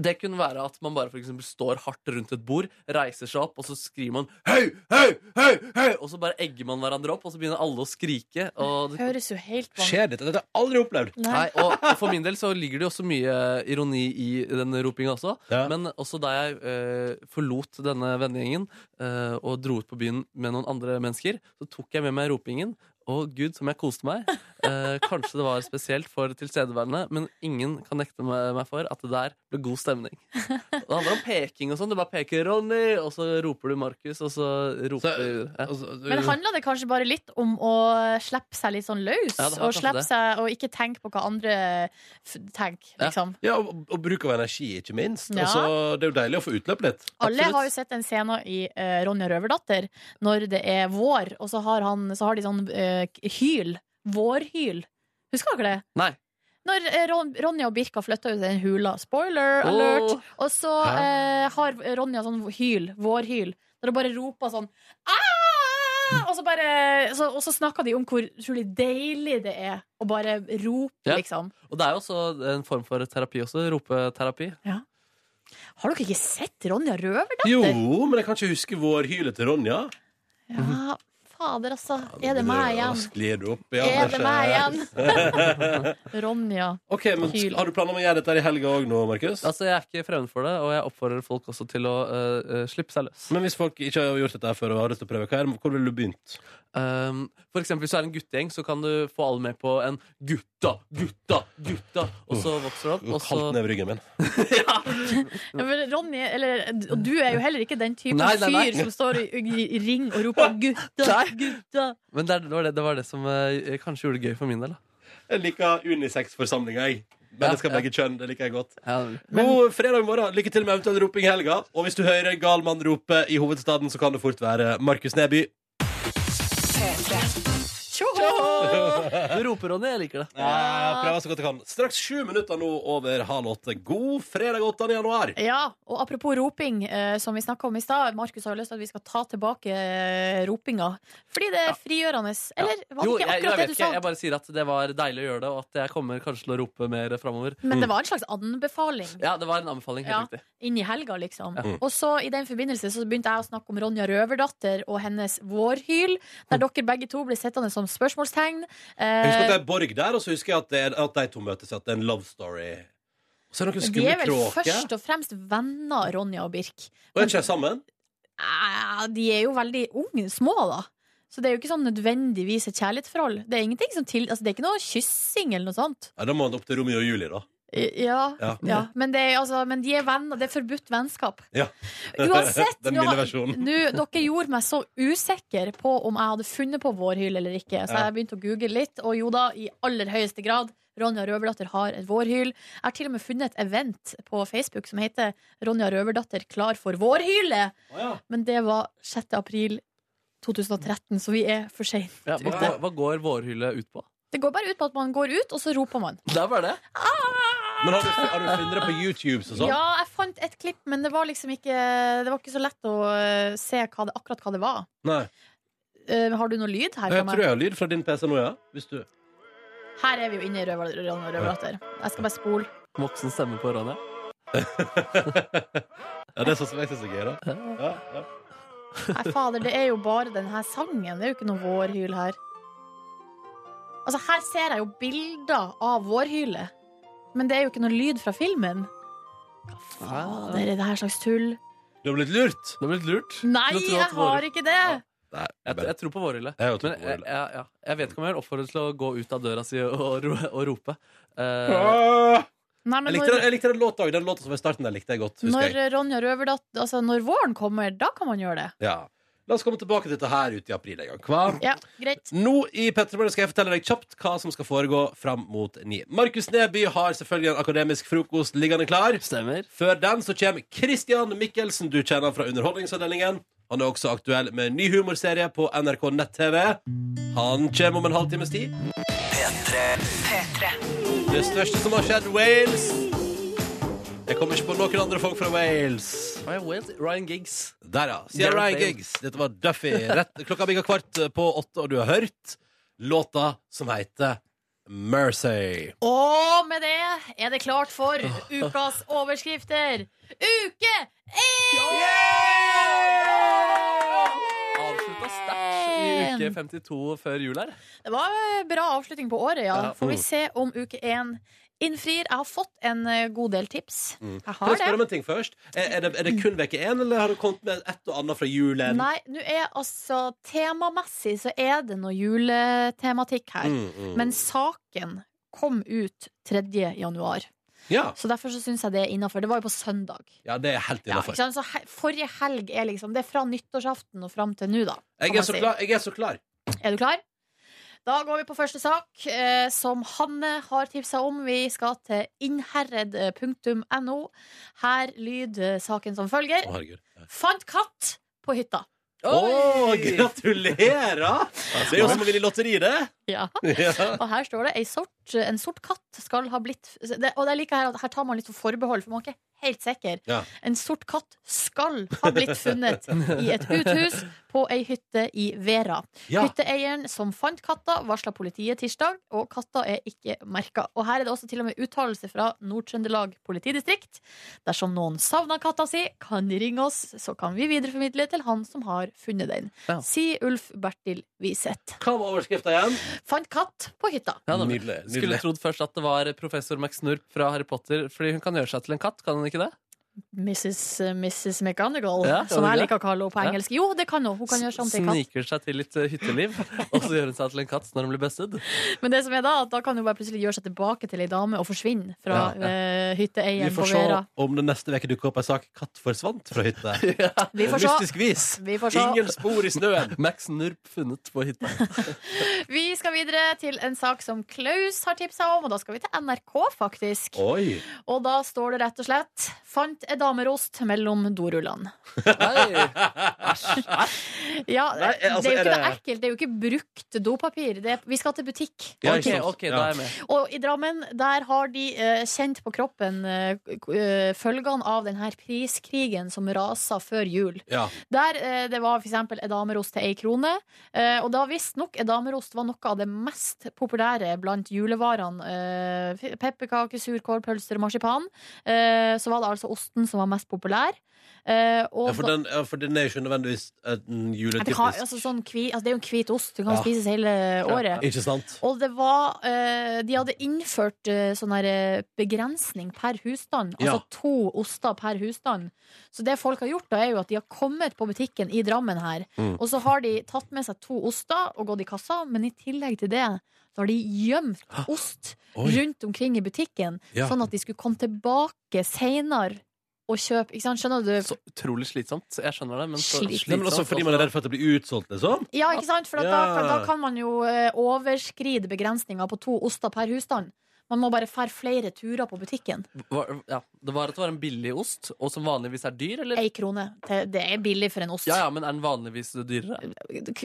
Det kunne være at man bare for eksempel står hardt rundt et bord, reiser seg opp, og så skriver man høy, høy, høy, høy, og så bare egger man hverandre opp, og så begynner alle å skrike. Og det, Høres jo helt vanlig Skjer dette? Dette har jeg aldri opplevd. nei, Nei. og for min del så ligger det jo også mye ironi i den ropinga også. Ja. Men også da jeg eh, forlot denne vennegjengen eh, og dro ut på byen med noen andre mennesker, så tok jeg med meg ropingen. Og gud, som jeg koste meg. Eh, kanskje det var spesielt for tilstedeværende, men ingen kan nekte meg meg for at det der ble god stemning. Og det handler om peking og sånn. Du bare peker 'Ronny', og så roper du 'Markus', og så roper eh, Så- ja. Altså, du- Mm. Men handler det kanskje bare litt om å slippe seg litt sånn løs? Ja, det har og kanskje slippe det. seg og ikke tenke på hva andre f- tenker, Ja. liksom. ja, og, og bruk av energi, ikke minst. Ja. Altså, det er jo deilig å få utløp litt. Alle Absolutt. har jo sett den scenen i eh, Ronja Røverdatter når det er vår, og så har, han, så har de sånn eh, hyl. Vårhyl. Husker dere det? Nei. Når eh, Ron, Ronja og Birka flytta ut i den hula. Spoiler alert! Åh. Og så eh, har Ronja sånn hyl, vårhyl, der hun bare roper sånn «Ah!» og så, bare, så, og så snakker de om hvor utrolig deilig det er å bare rope, Ja. liksom. Og det er jo også en form for terapi også. Ropeterapi. Har dere ikke sett Ronja Røverdatter? Jo, men jeg kan ikke huske vårhylet til Ronja. Ja, fader, altså. Er det meg igjen? Sklir du opp? Ja, Er det kanskje. meg igjen? Ronja. Ok, men Hyl. Har du planer om å gjøre dette her i helga òg nå, Markus? Altså, Jeg er ikke fremmed for det, og jeg oppfordrer folk også til å eh, eh, slippe seg løs. Men hvis folk ikke har gjort dette her før og har lyst til å prøve, hva er, det- hvor ville du begynt? Um, for eksempel hvis du er en guttegjeng, så kan du få alle med på en 'gutta, gutta, gutta', og så vokser det opp. Og Kaldt så, ned i ryggen min. Ja, men Ronny, eller, og du er jo heller ikke den typen Nei, nei, nei. fyr som står i, i, i ring og roper 'gutta, Nei. gutta'. men det, er- det, var det, det var det som eh, kanskje gjorde det gøy for min del. Da. Jeg liker unisex-forsamlinger, jeg. Mennesker av Ja, ja. begge kjønn. Det liker jeg godt. Ja, det- God fredag morgen. Lykke til med eventuell roping i helga. Og hvis du hører en gal mann rope i hovedstaden, så kan det fort være Markus Neby. du roper, Ronny. Jeg liker det. Ja, Eh, prøver så godt jeg kan. Straks sju minutter nå over halv åtte. God fredag 8. januar. Ja, og apropos roping, eh, som vi snakka om i stad. Markus har jo lyst til at vi skal ta tilbake eh, ropinga. Fordi det er frigjørende. Eller var det Jo, ikke jeg, akkurat jeg vet det du ikke. sa? Jeg bare sier at det var deilig å gjøre det, og at jeg kommer kanskje til å rope mer framover. Men det var en slags anbefaling. Mm. Ja, Mm. det var en anbefaling. Helt Ja. riktig. inn i helga, liksom. Ja. Og så i den forbindelse så begynte jeg å snakke om Ronja Røverdatter og hennes vårhyl, Mm. der dere begge to ble sittende som spørsmålstegn. Jeg husker at det Eh, er Borg der, og så husker jeg at, det er, at de to møtes. At det er en love story. Og så er det noen Eh, de skumle er vel kråker. først og fremst venner, Ronja og Birk. Og er ikke de sammen? Eh, de er jo veldig unge, små, da. Så det er jo ikke sånn nødvendigvis et kjærlighetsforhold. Det er ingenting som til, altså det er ikke noe kyssing eller noe sånt. Ja, da må han opp til Romeo og Julie, da. I- Ja, Ja. ja. Men, det er, altså, men de er venner. Det er forbudt vennskap. Ja. Uansett, Den nå- milde versjonen. nå- dere gjorde meg så usikker på om jeg hadde funnet på vårhyl eller ikke, så Ja. jeg begynte å google litt, og jo da, i aller høyeste grad. Ronja Røverdatter har et vårhyl. Jeg har til og med funnet et event på Facebook som heter 'Ronja Røverdatter klar for vårhylet', men det var 6. april 2013, så vi er for seint. Ja, Ja. hva, går- hva går vårhylle ut på? Det går bare ut på at man går ut, og så roper man. Det er bare det. Men har du, har du funnet det på YouTube? og sånn? Ja, jeg fant et klipp, men det var liksom ikke Det var ikke så lett å eh, se hva det, akkurat hva det var. Nei. Eh, har du noe lyd her? fra Jeg meg? tror jeg har lyd fra din PC nå, ja. Hvis du Her er vi jo inne i Røver- Ronja Røverdatter. Jeg skal bare spole. Voksen stemme på Ronny. Ja, det er sånn som jeg syns er gøy, da. Ja, ja. Nei, fader, det er jo bare den her sangen. Det er jo ikke noe vårhyl her. Altså, her ser jeg jo bilder av vårhylet, men det er jo ikke noe lyd fra filmen. Fader, Ja. er det her slags tull? Du har blitt lurt. Du har blitt lurt. Nei, Du tror jeg at vårhyl- har ikke det! Nei, Jeg, jeg tror på vårhylle. Jeg har tro Men på jeg, vårhylle. jeg, ja. jeg vet ikke om jeg vil oppfordre til å gå ut av døra si og, ro, og rope. Eh, Ah! Nei, Jeg men likte, den- når, jeg likte den låta òg. Den låta som var i starten der, likte jeg godt. husker når jeg. Ronja Røverdatter Altså, når våren kommer, da kan man gjøre det. Ja. La oss komme tilbake til dette her ute i april en gang. Hva? Ja, greit. Nå i Petremorgen skal jeg fortelle deg kjapt hva som skal foregå fram mot ni. Markus Neby har selvfølgelig en akademisk frokost liggende klar. Stemmer. Før den så kommer Christian Mikkelsen, du kjenner han fra Underholdningsavdelingen. Han er også aktuell med en ny humorserie på NRK nett-TV. Han kommer om en halvtimes tid. Det største som har skjedd Wales. Jeg kommer ikke på noen andre folk fra Wales. Ryan Wales- Ryan Giggs. Der, ja. Sierra Gareth Bale. Giggs. Dette var Duffy. Rett. Klokka bikka kvart på åtte, og du har hørt låta som heter Mercy. Og med det er det klart for ukas overskrifter. Uke én! Avslutta sterkt i uke 52 før jul her. Det var en bra avslutning på året, ja. Ja. Får vi se om uke én innfrir. Jeg har fått en eh, god del tips. Jeg Kan har Mm. jeg spørre det. om en ting først? Er, er, det, er det kun veke én, eller har du kommet med et og annet fra julen? Nei, nå er altså temamessig så er det noe juletematikk her. Mm, mm. Men saken kom ut 3. januar. ja. Så derfor så syns jeg det er innafor. Det var jo på søndag. ja, det er helt Ja, innafor. ikke sant? Så he forrige helg er liksom Det er fra nyttårsaften og fram til nå, da. jeg, kan man er så si. klar, jeg er så klar. Er du klar? Da går vi på første sak, eh, som Hanne har tipsa om. Vi skal til innherred.no. Her lyder saken som Å, følger. herregud. Fant katt på hytta. Å, gratulerer! Det er jo som å vinne i lotteri, det. Ja. Ja. Og her står det ei sort, en sort katt skal ha blitt det, Og det liker jeg her at her tar man litt forbehold, for man er ikke helt sikker. Ja. En sort katt skal ha blitt funnet i et uthus på ei hytte i Vera. Ja. Hytteeieren som fant katta, varsla politiet tirsdag, og katta er ikke merka. Og her er det også til og med uttalelse fra Nord-Trøndelag politidistrikt. Dersom noen savna katta si, kan de ringe oss, så kan vi videreformidle til han som har funnet den. Ja. Si Ulf Bertil Wiseth. Hva var overskrifta igjen? Fant katt på hytta. Ja, da. Nydelig. Skulle nydelig. trodd først at det var professor Max Snurp fra Harry Potter, fordi hun kan gjøre seg til en katt, kan hun ikke det? Mrs. Mrs. eh, McGonagall, Ja, kan som du jeg det? liker å kalle henne på Ja. engelsk. Jo, det kan hun. Hun kan gjøre sånn til katt. Sniker seg til litt eh, hytteliv, og så gjør hun seg til en katt når hun blir bested. Men det som er da, at da kan hun bare plutselig gjøre seg tilbake til ei dame og forsvinne fra Ja, ja. eh, Vi hytteeieren på får se Vera. om det neste uke dukker opp ei sak 'Katt forsvant fra hytte'. Vi På får se. mystisk vis. Vi får se. Ingen spor i snøen. Max Snurp funnet på hytta. Vi skal videre til en sak som Klaus har tipsa om, og da skal vi til NRK, faktisk. Oi. Og da står det rett og slett 'Fant ei damerost mellom dorullene'. Nei, Ja, Nei, altså, det er jo ikke er noe det- ekkelt. Det er jo ikke brukt dopapir. Det er, vi skal til butikk. Ja, ok, ikke sant. ok, da er jeg med. Og i Drammen der har de eh, kjent på kroppen eh, k- eh, følgene av denne priskrigen som rasa før jul. Ja. Der eh, det var f.eks. edamerost til ei krone. Eh, og da visstnok edamerost var noe av det mest populære blant julevarene. Eh, f- pepperkaker, surkål, pølser og marsipan. Eh, så var det altså osten som var mest populær. Eh, og Ja, for, den, ja, for den er jo ikke nødvendigvis en Nei, det, kan, juletypisk. altså, sånn kvi, altså, det er jo en hvit ost. Du kan Ja. spises hele året. Ikke sant? Og det var eh, De hadde innført eh, sånn her eh, begrensning per husstand. Altså Ja. to oster per husstand. Så det folk har gjort, da er jo at de har kommet på butikken i Drammen her, Mm. og så har de tatt med seg to oster og gått i kassa, men i tillegg til det så har de gjemt ost Oi. rundt omkring i butikken, Ja. sånn at de skulle komme tilbake seinere og kjøpe. Ikke sant? Skjønner du? Så utrolig slitsomt. Jeg skjønner det, men så Slitsomt. Nei, men også fordi man er redd for at det blir utsolgt, liksom? Ja, ikke sant? For at da, Ja. kan, da kan man jo eh, overskride begrensninga på to oster per husstand. Man må bare fære flere turer på butikken. Var, ja, det var at det var en billig ost, og som vanligvis er dyr, eller? Ei krone. Det det er billig for en ost. Ja, ja, men er den vanligvis dyrere?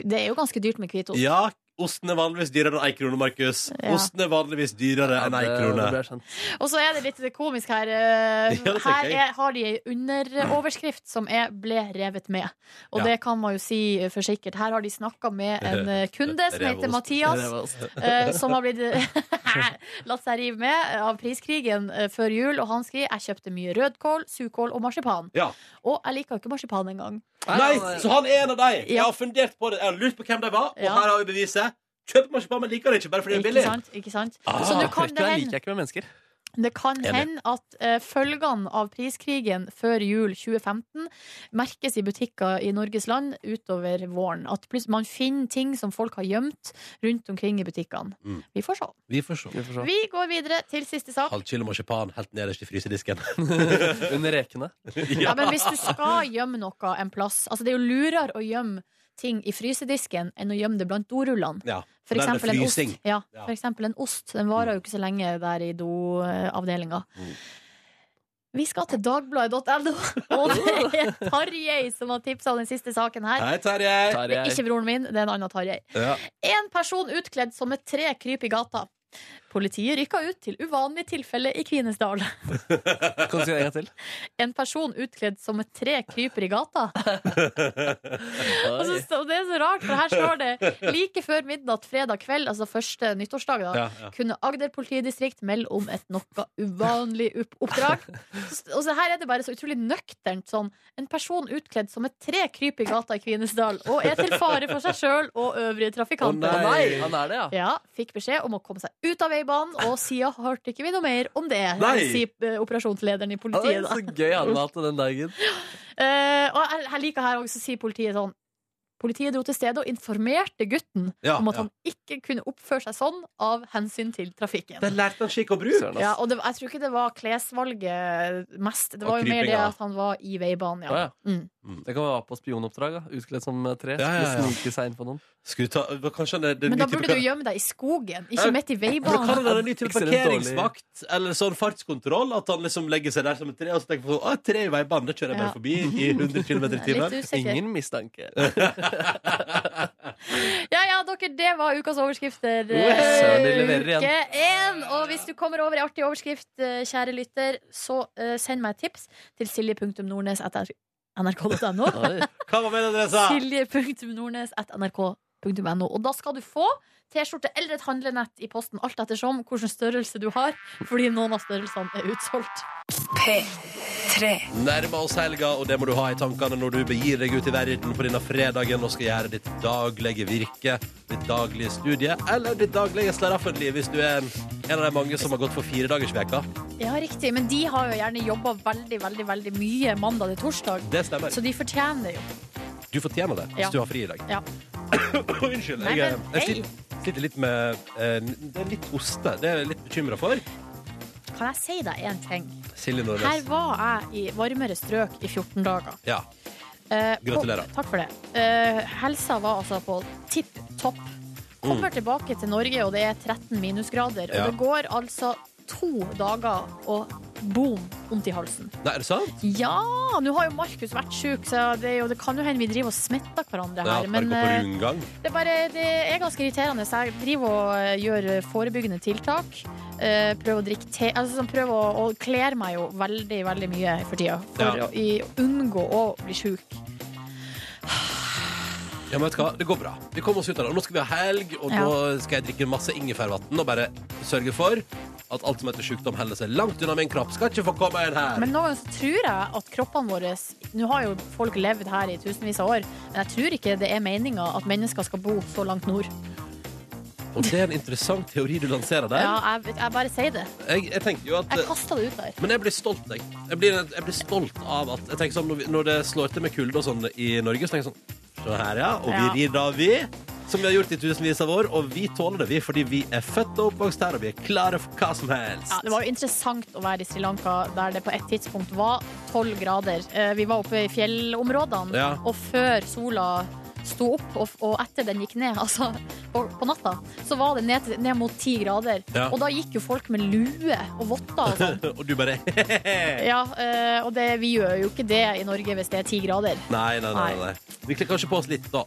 Det er jo ganske dyrt med hvitost. Ja, osten er vanligvis dyrere enn ei krone, Markus. Ja. Osten er vanligvis dyrere enn ei det, krone. det ble jeg skjønt. Og så er det litt komisk her. eh, Ja, det tenker Her jeg. er, har de ei underoverskrift som er 'ble revet med'. Og Ja. det kan man jo si eh, for sikkert. Her har de snakka med en eh, kunde som heter Revost. Mathias. Det var ost. eh, som har blitt latt seg rive med av priskrigen eh, før jul. Og han skriver jeg kjøpte mye rødkål, sukål og marsipan. Ja. Og jeg liker ikke marsipan engang. Nei, så han er en av deg. Jeg Ja. har fundert på det, jeg har lurt på hvem de var, og Ja. her har vi beviset. Kjøp marsipan, men liker det ikke bare fordi det er Ikke billig. sant? Ikke sant? Ah, så nå Det kan det trekket der hende liker jeg ikke med mennesker. Det kan Enig. hende at eh, følgene av priskrigen før jul 2015 merkes i butikker i Norges land utover våren. At plutselig man finner ting som folk har gjemt rundt omkring i butikkene. Mm. Vi får se. Vi får se. Vi får se. Vi går videre til siste sak. Halv kilo marsipan helt nederst i frysedisken. Under rekene. Ja, men hvis du skal gjemme noe en plass Altså, det er jo lurere å gjemme ting i frysedisken enn å gjemme det blant dorullene. Ja. For Der er det eksempel en ost. frysing. Ja, Ja. for eksempel en ost. Den varer jo ikke så lenge der i doavdelinga. Mm. Vi skal til dagbladet.no, og det er Tarjei som har tipsa om den siste saken her. Hei, Terje. Det er Tarjei. ikke broren min, det er en annen Tarjei. Ja. En person utkledd som et tre kryper i gata. Politiet rykka ut til uvanlig tilfelle i Kvinesdal. Kan du si det en gang til? En person utkledd som et tre kryper i gata. Og så, står- det er så rart, for her står det like før midnatt fredag kveld, altså første nyttårsdag, da, Ja, ja. kunne Agder politidistrikt melde om et noe uvanlig opp- oppdrag. S- Og så her er det bare så utrolig nøkternt sånn. En person utkledd som et tre kryper i gata i Kvinesdal og er til fare for seg sjøl og øvrige trafikanter. Å, Å nei, han er det, ja. Ja, fikk beskjed om å komme seg ut av veibanen, og siden hørte ikke vi noe mer om det. Nei. Sier eh, operasjonslederen i Å, politiet. Da. så gøy han har hatt det den dagen. Eh, og jeg, jeg liker her også, sier politiet sånn Politiet dro til stedet og informerte gutten Ja, om at ja. han ikke kunne oppføre seg sånn av hensyn til trafikken. Der lærte han skikk og bruk. Søren, ass. Ja, og det, jeg tror ikke det var klesvalget mest. Det Og var jo mer det krypinga. at han var i veibanen, Å, ja. ja. Mm. Det kan være på spionoppdrag. Da. Utkledd som eh, tre. Ja, ja, ja. Skulle snike seg inn på noen. Skulle ta, hva- kanskje han er den Men nye da burde type- du gjemme deg i skogen, Ja. ikke midt i Men kan det veibanen. være en ny type Ekstremt dårlig. parkeringsvakt eller sånn fartskontroll? At han liksom legger seg der som et tre og så tenker på, «Å, tre i veibanen, det kjører jeg bare Ja. forbi i 100 km i timen. Litt usikker. Ingen mistanke. Ja, ja, dere, det var ukas overskrifter. Søren, de eh, leverer igjen. Uke én! Og hvis du kommer over ei artig overskrift, eh, kjære lytter, så eh, send meg et tips til silje.nordnes.nrk.no. Oi. Hva var mailadressa? Silje.nordnes.nrk.no. Og da skal du få T-skjorte eller et handlenett i posten, alt ettersom hvilken størrelse du har, fordi noen av størrelsene er utsolgt. Nærmer oss helga, og det må du ha i tankene når du begir deg ut i verden på denne fredagen og skal gjøre ditt daglige virke, ditt daglige studie eller ditt daglige slaraffenliv hvis du er en, en av de mange som har gått for firedagersveka. Ja, riktig, men de har jo gjerne jobba veldig, veldig veldig mye mandag til torsdag, Det stemmer. så de fortjener jo. Du fortjener det hvis Ja. du har fri i dag. Ja. Unnskyld. Nei, jeg, eh, men, jeg hei. sliter, sliter litt med eh, Det er litt oste. Det er jeg litt bekymra for. Kan jeg si deg én ting? Silje Her Nordnes. var jeg i varmere strøk i 14 dager. Ja. Eh, Gratulerer. På, takk for det. Eh, helsa var altså på tipp topp. Kommer tilbake til Norge, og det er 13 minusgrader. Og Mm. Ja. det går altså to dager, og boom, vondt i halsen. Nei, er det sant? Ja! Nå har jo Markus vært sjuk, så det, er jo, det kan jo hende vi driver og smitter hverandre Ja, her. at bare men gå på eh, rundgang. det er, bare, det er ganske irriterende. Så jeg driver og eh, gjør forebyggende tiltak. Eh, prøver å drikke te altså, sånn, Prøver å, å kler meg jo veldig, veldig mye for tida. For Ja. å i, unngå å bli sjuk. Ja, men vet du hva? Det går bra. Vi kommer oss ut av det. Og Nå skal vi ha helg, og Ja. nå skal jeg drikke masse ingefærvann og bare sørge for at alt som heter sykdom, heller seg langt unna min kropp. Skal ikke få komme inn her. Men noen ganger så tror jeg at kroppene våre Nå har jo folk levd her i tusenvis av år, men jeg tror ikke det er meninga at mennesker skal bo så langt nord. Og det er en interessant teori du lanserer der. Ja, jeg, jeg bare sier det. Jeg, jeg tenker jo at Jeg kasta det ut der. Men jeg blir stolt, jeg. Jeg blir, jeg blir stolt av at jeg tenker sånn, når, vi, når det slår til med kulde og sånn i Norge, så tenker jeg sånn Se her, ja. Og vi Ja. rir da, vi. Som vi har gjort i tusenvis av år. Og vi tåler det, vi, fordi vi er født og oppvokst her, og vi er klare for hva som helst. Ja, det var jo interessant å være i Sri Lanka der det på et tidspunkt var tolv grader. Eh, Vi var oppe i fjellområdene, Ja. og før sola sto opp, og, og etter den gikk ned, altså på, på natta, så var det ned, til- ned mot ti grader. Ja. Og da gikk jo folk med lue og votter og sånn. og du bare Nei, Ja, eh, og det, vi gjør jo ikke det i Norge hvis det er ti grader. nei, nei. nei, nei. Vi kler kanskje på oss litt, da.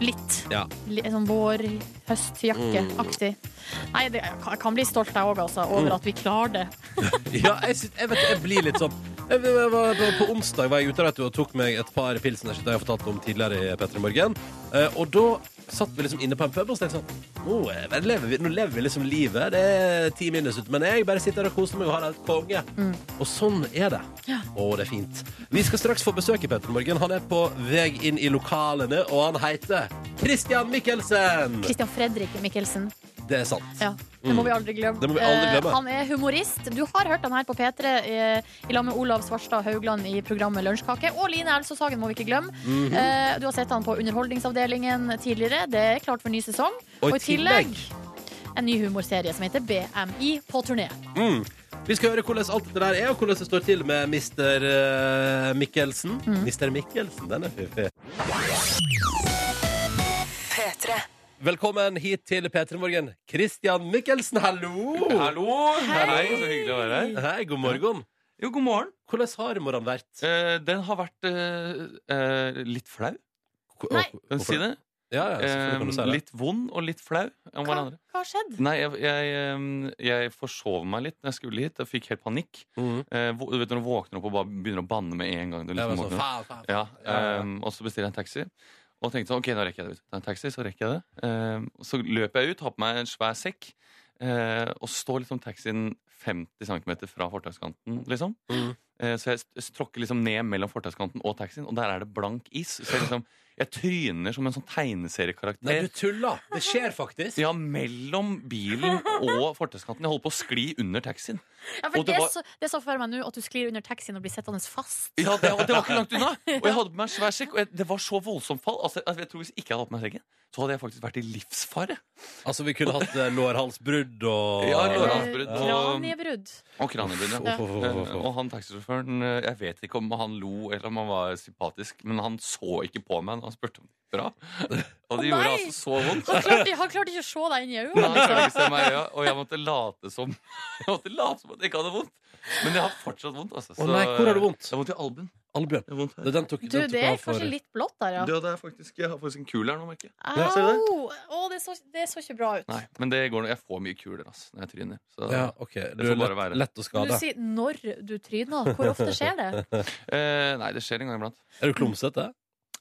Litt. Ja. Litt sånn vår, høstjakkeaktig. Mm. Nei, det, jeg kan- jeg kan bli stolt jeg òg, altså, over at vi klarer det. Ja, jeg, syns- jeg, vet, jeg blir litt sånn jeg, jeg var, på, på onsdag var jeg ute vet du, og tok meg et par pilsner som jeg har fortalt om tidligere i Petter i morgen. Eh, og da satt vi liksom inne på en pub og så tenkte jeg sånn Nå, eh, vel, lever vi, nå lever vi liksom livet. Det er ti minus ute, men jeg bare sitter her og koser meg og har det helt konge. Og sånn er det. Å, det er fint. Vi skal straks få besøk i Petter i morgen. Han er på vei inn i lokalene, og han heter Christian Michelsen. Christian Fredrik Mikkelsen. Det er sant. Ja, det må Mm. vi aldri glemme. Det må vi aldri glemme. Eh, han er humorist. Du har hørt han her på P3 eh, i lag med Olav Svarstad Haugland i programmet Lunsjkake. Og Line Elsåshagen må vi ikke glemme. Mhm. Eh, Du har sett han på Underholdningsavdelingen tidligere. Det er klart for ny sesong. Og i tillegg en ny humorserie som heter BMI på turné. Mm. Vi skal høre hvordan alt det der er, og hvordan det står til med Mr. eh, Mikkelsen. Mm. Mr. Mikkelsen, den er fiffig. Velkommen hit til P3 Morgen. Christian Mikkelsen, hallo! Hallo! Hei. så hyggelig å være her. Hei, god morgen. Jo, god morgen. Hvordan har morgenen vært? Eh, den har vært eh, eh, litt flau. Nei. Kan jeg si det? Ja, ja, selvfølgelig kan du si Eh, det. litt vond og litt flau om Hva, hverandre. hva har skjedd? Mm. Nei, jeg, jeg, eh, jeg forsov meg litt når jeg skulle hit. Jeg fikk helt panikk. Mhm. Eh, vå- du vet når du våkner opp og bare begynner å banne med en gang. Du Jeg var liksom sånn, våkner. faen, faen, faen. Ja, Ja, ja. eh, og så bestiller jeg en taxi. Og tenkte sånn, ok, nå rekker jeg det. ut. Ta en taxi, så rekker jeg det. Eh, så løper jeg ut, har på meg en svær sekk, eh, og står liksom taxien 50 cm fra fortauskanten, liksom. Mhm. Eh, så jeg s- s- tråkker liksom ned mellom fortauskanten og taxien, og der er det blank is. Så jeg liksom, jeg tryner som en sånn tegneseriekarakter. Nei, du tuller. Det skjer faktisk. Ja, mellom bilen og fortauskanten. Jeg holder på å skli under taxien. Ja, for Og det det, er var- så, det er så for meg nå at du sklir under taxien og blir sittende fast. Ja, det, og det var ikke langt unna. Og jeg hadde på meg en svær sekk, og jeg, det var så voldsomt fall. Altså, jeg, jeg tror Hvis ikke jeg hadde hatt på meg sekken, så hadde jeg faktisk vært i livsfare. Altså, vi kunne hatt eh, lårhalsbrudd og Ja, Eh, lårhals- Koranbrudd og- Kraniebrudd. Og kraniebrudd, ja. Uff, uff, uff, uff, Eh, uff. Og han taxisjåføren, eh, jeg vet ikke om han lo eller om han var sympatisk, men han så ikke på meg når han spurte om det gikk bra. Og Å, det gjorde nei! altså så vondt. Han klarte, han klarte ikke å se deg inn i Men øynene. altså. han klarte ikke å se meg i øya, og jeg måtte late som Jeg måtte late som at jeg ikke hadde vondt. Men jeg har fortsatt vondt. altså. Å nei, hvor har du vondt? Jeg har vondt i albuen. Albjørn. Jeg har vondt her. Det, den tok, Du, den tok det jeg er av for- kanskje litt blått der, ja. Du, det er faktisk, jeg har faktisk en kul her nå, merker jeg. Ja, ser du det? Au! Å, det så, det så ikke bra ut. Nei, men det går nå. Jeg får mye kuler altså, når jeg tryner. Så, Ja, ok. Du får er bare lett, være. lett å Men skade. Du sier når du tryner. Hvor ofte skjer det? eh, nei, det skjer en gang iblant. Er du klumsete?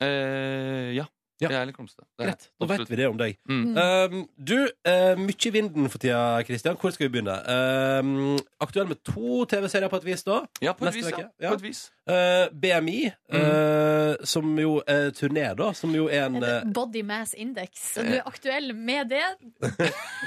Eh, ja. Ja. Jeg er litt klumsete. Det er Greit, da vet vi det om deg. Mm. Um, du, uh, mye i vinden for tida, Kristian. Hvor skal vi begynne? Um, aktuell med to TV-serier på et vis, da. Ja, på et Neste vis. Ja. uke, ja. På et vis. Uh, BMI, Mm. uh, som jo er turné, da. Som jo er en uh, En Body mass index. Du Eh, er aktuell med det.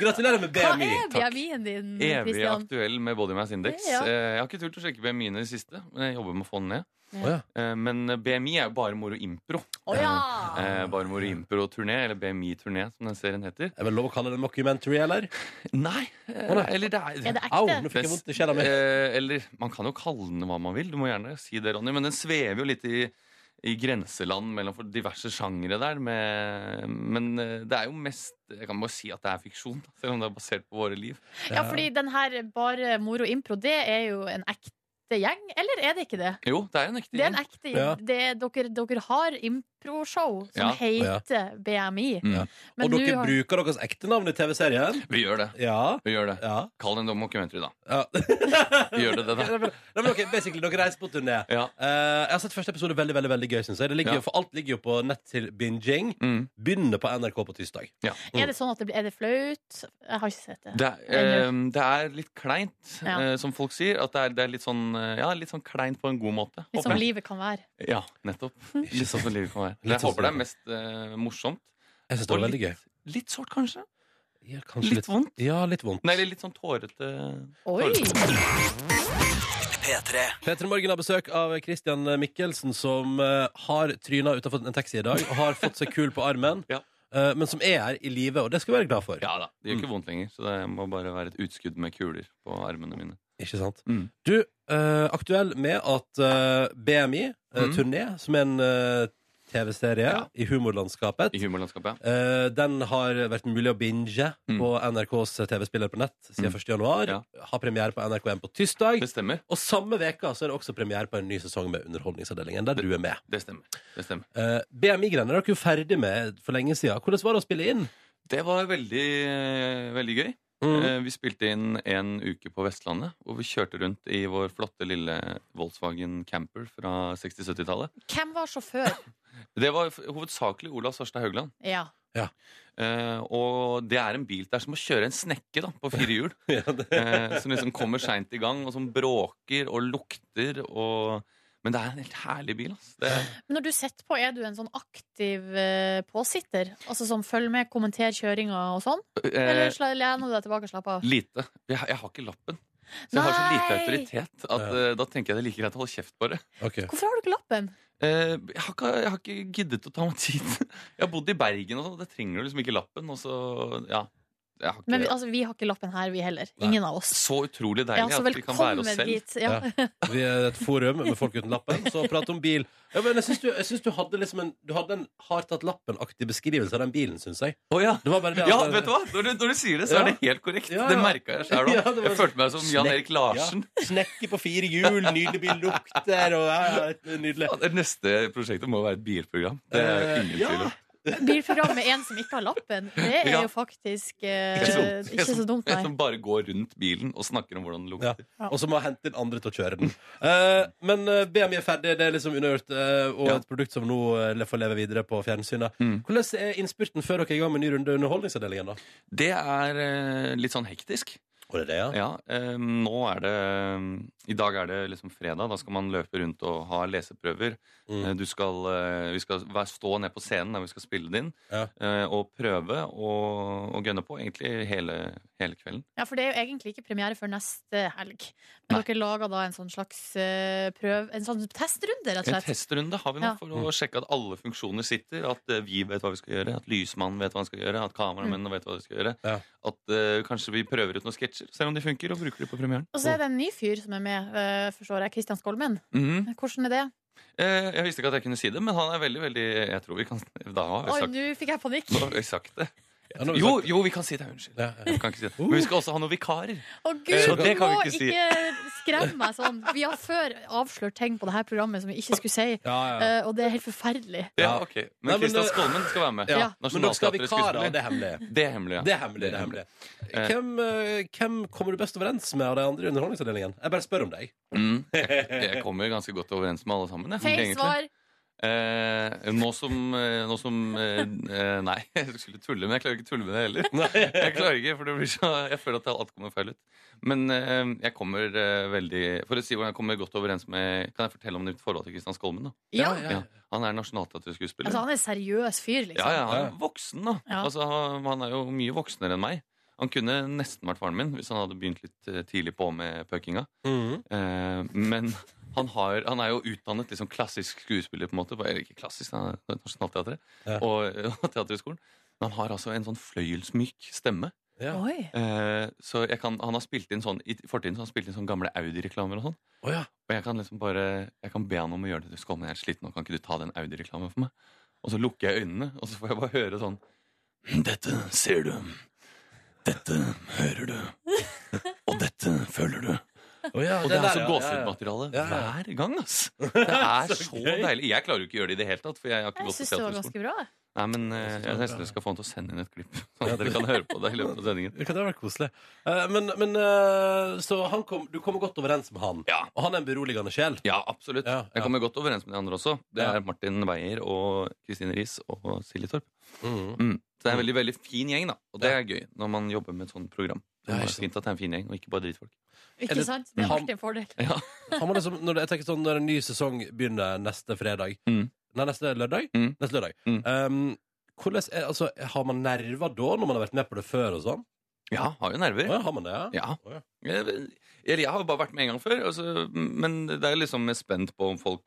Gratulerer med Hva BMI! er takk. BMI-en din, Evig Kristian? aktuell med Body Mass Index. Mm, Ja. Eh, jeg har ikke turt å sjekke BMI-en i det siste, men jeg jobber med å få den ned. Å, ja. Eh, men BMI er jo bare moro impro. Å ja! Ah. Eh, bare moro impro-turné, eller BMI-turné, som den serien heter. Er det lov å kalle det en mockumentary, eller? Nei! Eh, Å, nei. Eller det Er er det Au, ekte? nå fikk jeg vondt i sjela mi. Eh, eller man kan jo kalle den hva man vil, du må gjerne si det, Ronny, men den svever jo litt i, i grenseland mellom for- diverse sjangere der. Med, men eh, det er jo mest Jeg kan bare si at det er fiksjon, da, selv om det er basert på våre liv. Ja, fordi den her Bare moro impro, det er jo en ekte gjeng, eller er det ikke det? Jo, det er en ekte Det er en gjeng. ekte Ja. det, dere, dere har impro-show som Ja. heter BMI. Mm. Men Og nå dere har- bruker deres ekte navn i TV-serien? Vi gjør det. Ja. Vi gjør det. Ja. Kall den dokumentary, da. ja. Vi gjør det, det da. Nei, men- nei, men ok, basically, dere reiser på turné. Ja. Eh, jeg har sett første episode veldig veldig, veldig gøy, synes jeg. Det ligger, Ja. jo- For alt ligger jo på nett til binging. Mm. Begynner på NRK på tirsdag. Er det sånn at det blir Er det flaut? Jeg har ikke sett det. Det, er, eh, det er litt kleint, Ja. eh, som folk sier. At det er, det er litt, sånn, eh, ja, litt sånn kleint på en god måte. Litt Håper som Hm. jeg. livet kan være. Ja, nettopp. Litt sånn som livet kan være. Litt Jeg sånn som håper det er livet. mest eh, morsomt. Jeg synes det var Og veldig gøy. Litt sårt, kanskje. Ja, Litt, kanskje litt, vondt. ja, litt vondt. Nei, eller litt sånn tårete. Oi! Petter Morgen har besøk av Christian Mikkelsen, som eh, har tryna utenfor en taxi i dag og har fått seg kul på armen, Ja. eh, men som er her i live, og det skal vi være glad for. Ja da, Det gjør ikke vondt lenger, så det må bare være et utskudd med kuler på armene mine. Ikke sant? Mm. Du, eh, aktuell med at eh, BMI, eh, Mm. turné, som er en eh, TV-serie Ja. i humorlandskapet, I humorlandskapet, ja. Eh, den har vært mulig å binge Mm. på NRKs TV-spiller på nett siden Mm. 1. januar. Ja. Har premiere på NRK1 på tirsdag. Det stemmer. Og samme veka så er det også premiere på en ny sesong med Underholdningsavdelingen, der du er med. Det stemmer. Det stemmer. Eh, BMI-greiene er dere jo ferdig med for lenge siden. Hvordan var det å spille inn? Det var veldig, eh, veldig gøy. Mm. Eh, Vi spilte inn en uke på Vestlandet, hvor vi kjørte rundt i vår flotte lille Volkswagen camper fra 60-70-tallet. Hvem var sjåfør? Det var f- hovedsakelig Olav Svarstad Haugland. Ja. Eh, og det er en bil der som å kjøre en snekke da, på fire hjul. Ja, det- eh, som liksom kommer seint i gang, og som bråker og lukter og Men det er en helt herlig bil. ass. Det er, Men når du sitter på, er du en sånn aktiv eh, påsitter? Altså som følger med, kommenterer kjøringa og sånn? Eller eh, sla- lener du deg tilbake og slapper av? lite. Jeg, har- jeg har ikke lappen. Så jeg har så lite Nei! autoritet at Ja. eh, da tenker jeg det er like greit å holde kjeft, bare. Ok. Hvorfor har du ikke lappen? Eh, jeg, har ikke, jeg har ikke giddet å ta meg tid. Jeg har bodd i Bergen, og sånn, og der trenger du liksom ikke lappen. Og så, ja, jeg har ikke, Men vi, altså, vi har ikke lappen her, vi heller. Nei. Ingen av oss. Så utrolig deilig Ja, så at vi kan være velkommen oss selv. dit. Ja. Vi er et forum med folk uten lappen, så prat om bil. Ja, men jeg syns du, jeg synes du hadde liksom en Du hadde en har tatt lappen-aktig beskrivelse av den bilen, syns jeg. Å, ja. Det var bare det at- Ja, vet du hva? Når du, når du sier det, så er det helt korrekt. Ja, ja. Det merka jeg sjøl Ja, òg. det var- Jeg følte meg som Jan Erik Larsen. Ja. Snekke på fire hjul, nydelig bil lukter og ja, ja, Nydelig. Ja, det neste prosjektet må være et bilprogram. Det er jo Eh, ingen ja. tvil om. Bilprogram med en som ikke har lappen, det er Ja. jo faktisk eh, Ikke så dumt. ikke så dumt, En nei. som bare går rundt bilen og snakker om hvordan det Ja. lukter. Og så må jeg hente inn andre til å kjøre den. Eh, men eh, BMI er ferdig, det er liksom unnagjort, eh, og Ja. et produkt som nå eh, får leve videre på fjernsynet. Mm. Hvordan er innspurten før dere er i gang med ny runde Underholdningsavdelingen, da? Det er eh, litt sånn hektisk. Og det er det, ja. Ja, eh, nå er det eh, I dag er det liksom fredag. Da skal man løpe rundt og ha leseprøver. Mm. Eh, Du skal, eh, vi skal være, stå ned på scenen der vi skal spille det inn, Ja. eh, og prøve å, å gønne på egentlig hele, hele kvelden. Ja, for det er jo egentlig ikke premiere før neste helg. Men Nei. dere lager da en sånn slags eh, prøv... En sånn testrunde, rett og En slett. testrunde har vi nå Ja. for å sjekke at alle funksjoner sitter, at eh, vi vet hva vi skal gjøre, at lysmannen vet hva han skal gjøre, at Mm. kameramennene vet hva de skal gjøre, Ja. at eh, kanskje vi prøver ut noen sketsjer, ser om de funker, og bruker de på premieren. Og så er det en ny fyr som er med, eh, forstår jeg. Kristian Skolmen. Mhm. Hvordan er det? eh, jeg visste ikke at jeg kunne si det, men han er veldig, veldig Jeg tror vi kan Da har vi Oi, sagt, nå fikk jeg panikk! nå har vi sagt det. Ja, nå har vi Jo, sagt- jo, vi kan si det. Unnskyld. Ja, ja. Vi kan ikke si det. Men vi skal også ha noen vikarer. Å Eh, gud, så du det må kan vi ikke, ikke si. skremme meg sånn. Vi har før avslørt ting på det her programmet som vi ikke skulle si, Ja, ja. eh, og det er helt forferdelig. Ja. Ja, ok Nei, men Men Kristian det- Skolmen skal være med. Ja. Men dere skal ha Nationaltheatret vikarer, skuespiller. og det er hemmelig. Det er hemmelig. Ja. Det er hemmelig. det er hemmelig Hvem, eh, hvem kommer du best overens med av de andre i Underholdningsavdelingen? Jeg bare spør om deg. Mm. Jeg kommer ganske godt overens med alle sammen. Jeg, Feil egentlig. svar. Eh, nå som, eh, nå som eh, eh, Nei, jeg skulle tulle, men jeg klarer ikke å tulle med det heller. Jeg klarer ikke, for det blir så Jeg føler at alt kommer feil ut. Men eh, jeg kommer eh, veldig For å si hvordan jeg kommer godt overens med Kan jeg fortelle om mitt forhold til Kristian Skolmen? da? Ja. Ja. Han er nasjonalteaterskuespiller. Altså, han er en seriøs fyr, liksom. Ja, ja, han er Ja. voksen da Ja. altså, han han er jo mye voksnere enn meg Han kunne nesten vært faren min Hvis han hadde begynt litt eh, tidlig på med pøkinga Mhm. eh, Men han, har, han er jo utdannet liksom, klassisk skuespiller på en måte Eller ikke klassisk, han er nasjonalteatret Ja. og, og teaterskolen Men han har altså en sånn fløyelsmyk stemme Ja. Oi. eh, Så jeg kan, han har spilt inn sånn I fortiden så har han spilt inn sånn gamle Audi-reklamer og sånn Å ja. og jeg kan liksom bare Jeg kan be han om å gjøre det. Du skal med, jeg er sliten, og kan ikke du ta den Audi-reklamen for meg? Og så lukker jeg øynene, og så får jeg bare høre sånn Dette ser du. Dette hører du. Og dette føler du. Å ja, Og det der, er altså ja, gåsehudmateriale Ja, ja. hver gang, ass. Det er Så så gøy. deilig. Jeg klarer jo ikke å gjøre det i det hele tatt, for jeg har ikke Jeg gått på syns det var teaterskolen. ganske bra. Nei, men eh, Jeg synes det jeg var nesten bra. skal få han til å sende inn et klipp, sånn at dere kan høre på det i løpet av sendingen. Det kan da være koselig. Eh, men men eh, så han kom, du kommer godt overens med han. Ja. Og han er en beroligende sjel. Ja, absolutt. Ja, ja. Jeg kommer godt overens med de andre også. Det Ja. er Martin Beyer og Kristine Riis og Silje Torp. Mhm. Mm. Så det er en veldig, veldig fin gjeng, da. Og det Ja. er gøy når man jobber med et sånt program. Det Ja, er ikke sant. fint at det er en fin gjeng, og ikke bare drittfolk. Er Ikke det- sant? Det er Han- alltid en fordel. Ja. Han må liksom, når, det- jeg tenker sånn, når en ny sesong begynner neste fredag Mm. Nei, neste lørdag? Mm. Neste lørdag. Mm. Um, hvordan er, altså, har man nerver da, når man har vært med på det før og sånn? ja, har jo Å nerver. Ja, har man det, ja? Ja. Å, ja. Jeg, Eh, eller jeg har jo bare vært med en gang før, altså, men det er liksom jeg er spent på om folk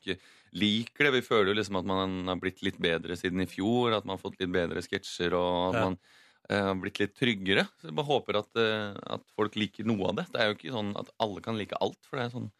liker det. Vi føler jo liksom at man har blitt litt bedre siden i fjor, at man har fått litt bedre sketsjer, og at Ja. man eh, har blitt litt tryggere. Så jeg bare håper at, eh, at folk liker noe av det. Det er jo ikke sånn at alle kan like alt, for det er sånn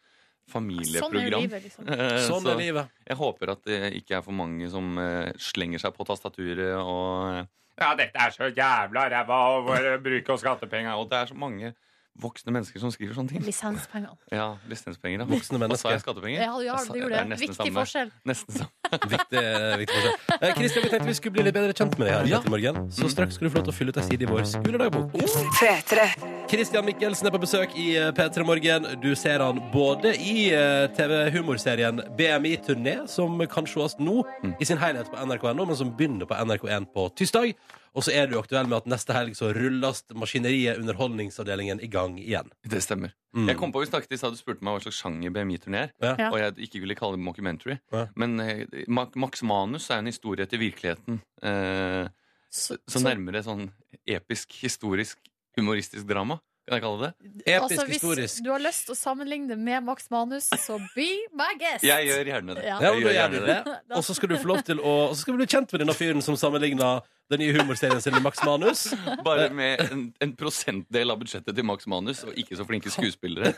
Sånn er jo familieprogram. livet, liksom. Eh, Sånn så- er livet. Jeg håper at det ikke er for mange som eh, slenger seg på tastaturet og eh, Ja, dette er så jævla ræva og bare bruker skattepenger. Og det er så mange voksne mennesker som skriver sånne ting. Lisenspengene. Ja, lisenspenger, da. Voksne Hva sa jeg? mennesker. Skattepenger? Ja, ja, Jeg sa- det gjorde Altså, er det. nesten Viktig samme. forskjell. Nesten samme. Viktig, viktig forskjell. Eh, Kristian, vi tenkte vi skulle bli litt bedre kjent med deg her. i Ja. Petter Morgen. Så straks skal du få lov til å fylle ut ei side i vår skoledagbok. Kristian Mikkelsen er på besøk i eh, P3 Morgen. Du ser han både i eh, TV-humorserien BMI Turné, som kan sees nå Mm. i sin helhet på NRK.no, men som begynner på NRK1 på tirsdag. Og så er du aktuell med at neste helg så rulles maskineriet Underholdningsavdelingen i gang gang igjen. Det stemmer. Mm. Jeg kom på vi snakket i stad, Du spurte meg hva slags sjanger BMI-turné er. Ja. Ja. Og jeg ikke ville kalle det mockumentary. Ja. Men eh, Ma- Max Manus er en historie etter virkeligheten. Eh, Så, så nærmere sånn episk, historisk, humoristisk drama. Kan jeg kalle det det? Episk altså, hvis historisk. du har lyst til å sammenligne det med Max Manus, så be my guest! Jeg gjør gjerne det. Ja. Ja, Jeg og da gjør du det. Da- Og så skal du få lov til å Og så skal du bli kjent med denne fyren som sammenligna den nye humorserien sin med Max Manus. Bare med en, en prosentdel av budsjettet til Max Manus, og ikke så flinke skuespillere.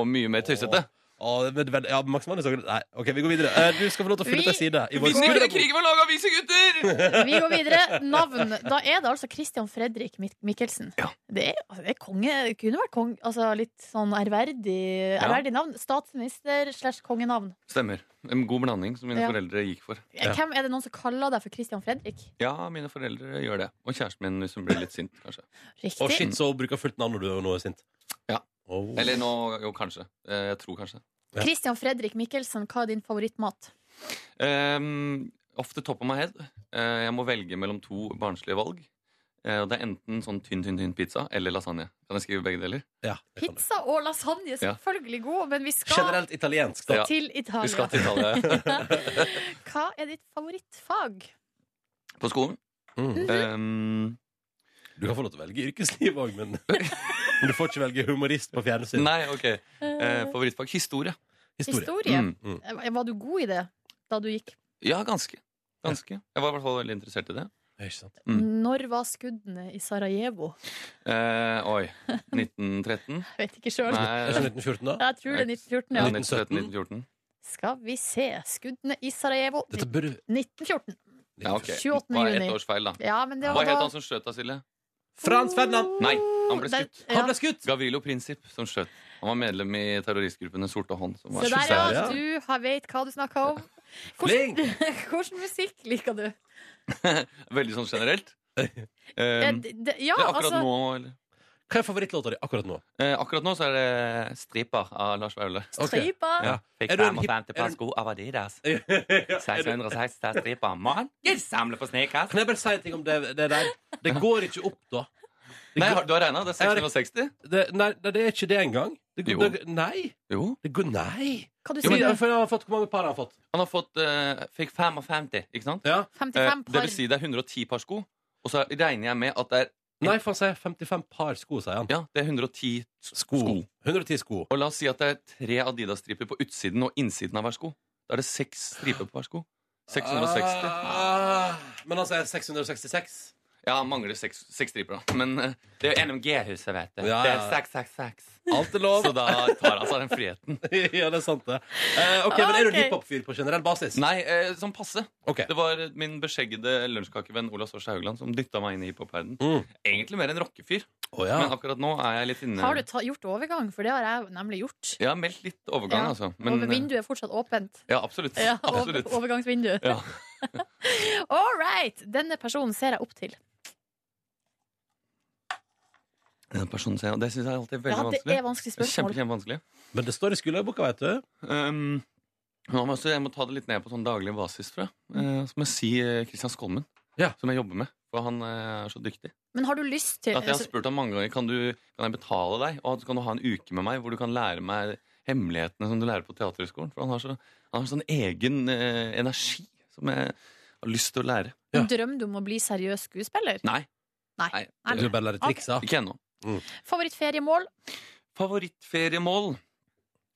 Og mye mer tøysete. Å, men, men, ja, Max Manus er- Nei, OK, vi går videre. Eh, Du skal få lov til å fylle ut Vi- ei side. i vår- krigen var laga av vise gutter! Vi går videre. Navn. Da er det altså Christian Fredrik Mik Mikkelsen. Det, er, altså, det er konge. Det kunne vært kong, altså, litt sånn ærverdig, ærverdig navn. Statsminister slash kongenavn. Stemmer. En god blanding som mine Ja. foreldre gikk for. Hvem er det noen som kaller deg for Christian Fredrik? Ja, mine foreldre gjør det. Og kjæresten min hvis hun blir litt sint, kanskje. Riktig. Å, shit, så bruker fullt navn når du nå er sint. Oh. Ja. Å. Eller nå, jo, kanskje. Eh, Jeg tror kanskje. Ja. Christian Fredrik Mikkelsen, hva er din favorittmat? Um, off the top of my head. eh, Jeg må velge mellom to barnslige valg. Eh, Og det er enten sånn tynn, tynn, tynn pizza eller lasagne. Kan jeg skrive begge deler? Ja, det kan du. Pizza og lasagne, Ja. selvfølgelig god, men vi skal Generelt italiensk, da. Ja. til Italia. Vi skal til Italia. Hva er ditt favorittfag? På skolen. Mm. Um, Du kan få lov til å velge yrkesliv òg, men Men du får ikke velge humorist på fjernsyn. nei, OK. Eh, Favorittfag historie. Historie. Historie. Eh, Mm. Var du god i det da du gikk? Ja, ganske. Ganske. Jeg var i hvert fall veldig interessert i det. Ja, Ikke sant? Mm. Når var skuddene i Sarajevo? Eh, oi. 1913? Jeg vet ikke sjøl. Er ikke Nei, 1914, da? Jeg tror det er 1914, ja, ja. 1913-1914. Skal vi se. Skuddene i Sarajevo Dette burde 1914. Ja, ok. 28. Bare juni. ett års feil, da. Ja, men det Hva var het da han som skjøt da, Silje? Frans Ferdinand! Nei, han ble Den- skutt. ja. Han ble skutt! Gavrilo Prinsip som skjøt. Han var medlem i terroristgruppen Den sorte hånd. Som var Se der, Der, ja. ja. Du har- vet hva du snakker om. Flink! Hvordan musikk liker du? Veldig sånn generelt. Eh, Um, d- d- Ja, ja, akkurat altså nå, eller? Hva er favorittlåta di akkurat nå? Eh, akkurat nå så er det 'Stripper' av Lars Vaular. Ok. Stripa. Ja. Er Fikk du en hip- 55 er par du- sko av Adidas. Er du- 660 stripper. Mann, jeg samler på sneakers! Kan jeg bare si en ting om det, det der? Det går ikke opp, da. Det Nei, går- har- du har regna? Det er 660? det, nei, nei, det er ikke det engang. Det, Jo. går- det, nei. Jo. Det går, nei. Hva du Fordi, eh, sier du? for jeg har fått, hvor mange par har han fått? Han har fått eh, Fikk 55, ikke sant? Ja. Eh, 55 det par. vil si det er 110 par sko. Og så regner jeg med at det er Nei, for han sier 55 par sko, sier han. Ja, det er 110 Sko. 110 sko. Og la oss si at det er tre Adidas-striper på utsiden og innsiden av hver sko. Da er det seks striper på hver sko. 660. Ah, men han sier 666. Ja, han mangler seks, seks striper, da. Men eh, det er jo NMG-huset, vet du. Ja, Det ja. er 666. Alt er lov. Så da tar han seg den friheten. ja, det er sant, det. Eh, ok, Men er du en Ah, Ok. hiphop-fyr på generell basis? Nei, eh, sånn passe. Ok. Det var min beskjeggede lunsjkakevenn Ola Sors Haugland som dytta meg inn i hiphopverdenen. Mm. Egentlig mer en rockefyr, Å, ja. men akkurat nå er jeg litt inne Har du ta, gjort overgang? For det har jeg nemlig gjort. Jeg har meldt litt overgang, Ja. altså. Og Men, eh, vinduet er fortsatt åpent. ja, absolutt. Ja, over, absolutt. overgangsvindu. Ja. All right! Denne personen ser jeg opp til. Den personen ser jeg, og det syns jeg alltid er veldig Ja, det vanskelig. er vanskelig Det er Kjempe, spørsmål. kjempevanskelig. Men det står i skulderboka, vet du. Um, nå må jeg, også- jeg må ta det litt ned på sånn daglig basis, tror jeg. Eh, så må jeg si eh, Kristian Skolmen, Ja. som jeg jobber med. For han eh, er så dyktig. Men har du lyst til At jeg har altså, spurt ham mange ganger kan, du, kan jeg betale deg, og at- kan du ha en uke med meg hvor du kan lære meg hemmelighetene som du lærer på Teaterhøgskolen. For han har, så, han har sånn egen eh, energi som jeg har lyst til å lære. Ja. Drømmer du om å bli seriøs skuespiller? Nei. Nei. Nei. Du vil bare lære triksa. Ikke ennå. Favorittferiemål? Favorittferiemål?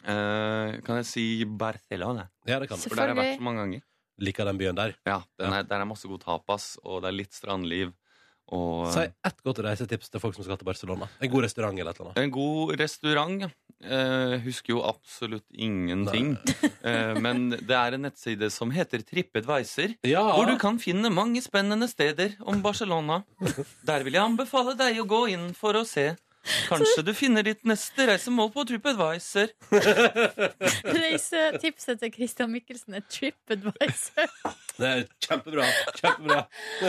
Eh, kan jeg si Barcelona? Ja, det kan du. For der har jeg Selvfølgelig. vært så mange ganger. Liker den byen der. Ja, den er, Der er masse god tapas, og det er litt strandliv. Og Si ett godt reisetips til folk som skal til Barcelona. En god restaurant eller et eller annet. en god restaurant. ja. Eh, husker jo absolutt ingenting. Eh, men det er en nettside som heter TripAdvisor. Ja, Hvor du kan finne mange spennende steder om Barcelona. Der vil jeg anbefale deg å gå inn for å se. Kanskje du finner ditt neste reisemål på TripAdvisor. Reisetipset til Christian Mikkelsen er TripAdvisor. det er kjempebra. kjempebra.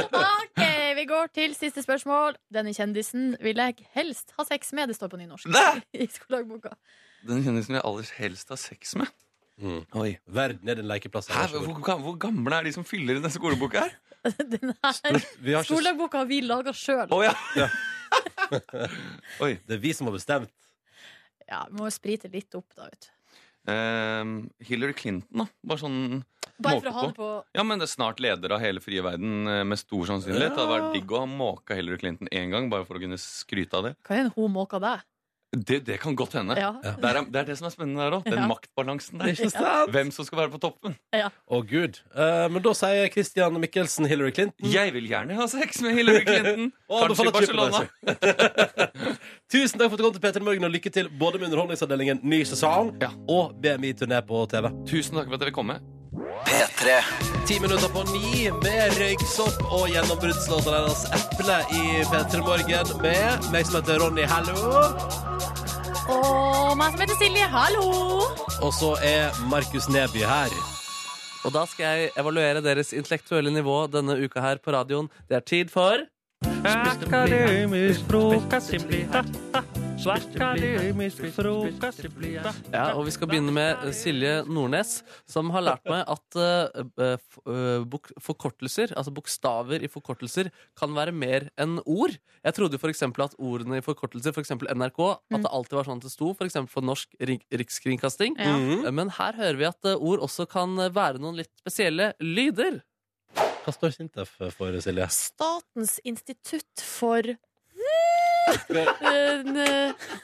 OK, vi går til siste spørsmål. Denne kjendisen vil jeg helst ha sex med. Det står på nynorsk Nei! i skolelagboka. Den kjendisen jeg aller helst har sex med. Mm. Oi. Verden er din lekeplass. Hæ, hvor, hvor, hvor gamle er de som fyller i denne skoleboka her? Den her Vi har ikke... skolelagboka har vi laga sjøl. Å ja. Det er vi som har bestemt. Ja, vi må jo sprite litt opp, da, vet du. Ehm, Hillary Clinton, da. Bare sånn Bare måke for å ha det på Ja, men det er snart leder av hele frie verden eh, med stor sannsynlighet. Det hadde vært digg å ha måka Hillary Clinton én gang, bare for å kunne skryte av det. Hva er en hun måker deg? Det, det kan godt hende. Ja. Ja. Det, er, det er det som er spennende der òg. Den Ja. maktbalansen der. Ikke sant? Hvem som skal være på toppen. Å, gud. Eh, men da sier Christian Michelsen Hillary Mm. Clinton. Jeg vil gjerne ha sex med Hillary Clinton. Og Kanskje i anbefaler Barcelona. Tusen takk for at du kom til Peter Morgen, og lykke til både med Underholdningsavdelingen ny sesong Mm, Ja. og BMI-turné på TV. Tusen takk for at dere kom med. Ti minutter på ni med røyksopp og gjennombruddslåta deres Eple i P3 Morgen med meg som heter Ronny Hallo. Og meg som heter Silje, hallo! Og så er Markus Neby her. Og da skal jeg evaluere deres intellektuelle nivå denne uka her på radioen. Det er tid for Ja, og vi skal begynne med eh, Silje Nordnes, som har lært meg at eh, eh, f- eh, bok forkortelser, altså bokstaver i forkortelser, kan være mer enn ord. Jeg trodde f.eks. at ordene i forkortelser, f.eks. NRK, at det alltid var sånn at det sto, f.eks. for Norsk Rik Rikskringkasting. Ja. Eh, Men her hører vi at eh, ord også kan eh, være noen litt spesielle lyder. Hva står Sintef for, Silje? Statens institutt for eh,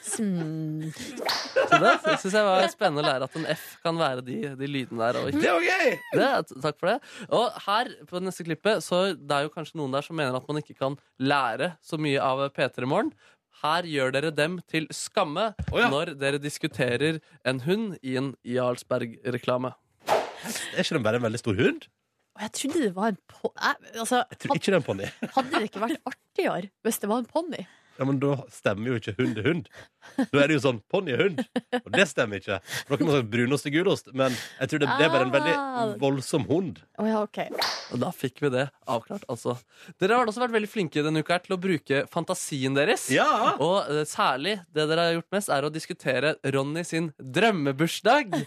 Så det syns jeg var spennende å lære at en F kan være de, de lydene der. Og ikke. var gøy! Det, t- takk for det. Og her på neste klippet, så det er jo kanskje noen der som mener at man ikke kan lære så mye av P3 Morgen. Her gjør dere dem til skamme Å, ja. når dere diskuterer en hund i en Jarlsberg-reklame. Er ikke den bare en veldig stor hund? Og jeg trodde det var en po... Jeg, altså, Jeg tror had- ikke det er en ponni. hadde det ikke vært artigere hvis det var en ponni? Ja, men da stemmer jo ikke hund er hund. Da er det jo sånn ponni er hund. Og det stemmer ikke. For Noen har sagt brunost er gulost, men jeg tror det, det er bare en veldig voldsom hund. Å ja, OK. Og da fikk vi det avklart, altså. Dere har også vært veldig flinke denne uka her til å bruke fantasien deres. Ja! Og eh, særlig det dere har gjort mest, er å diskutere Ronny sin drømmebursdag.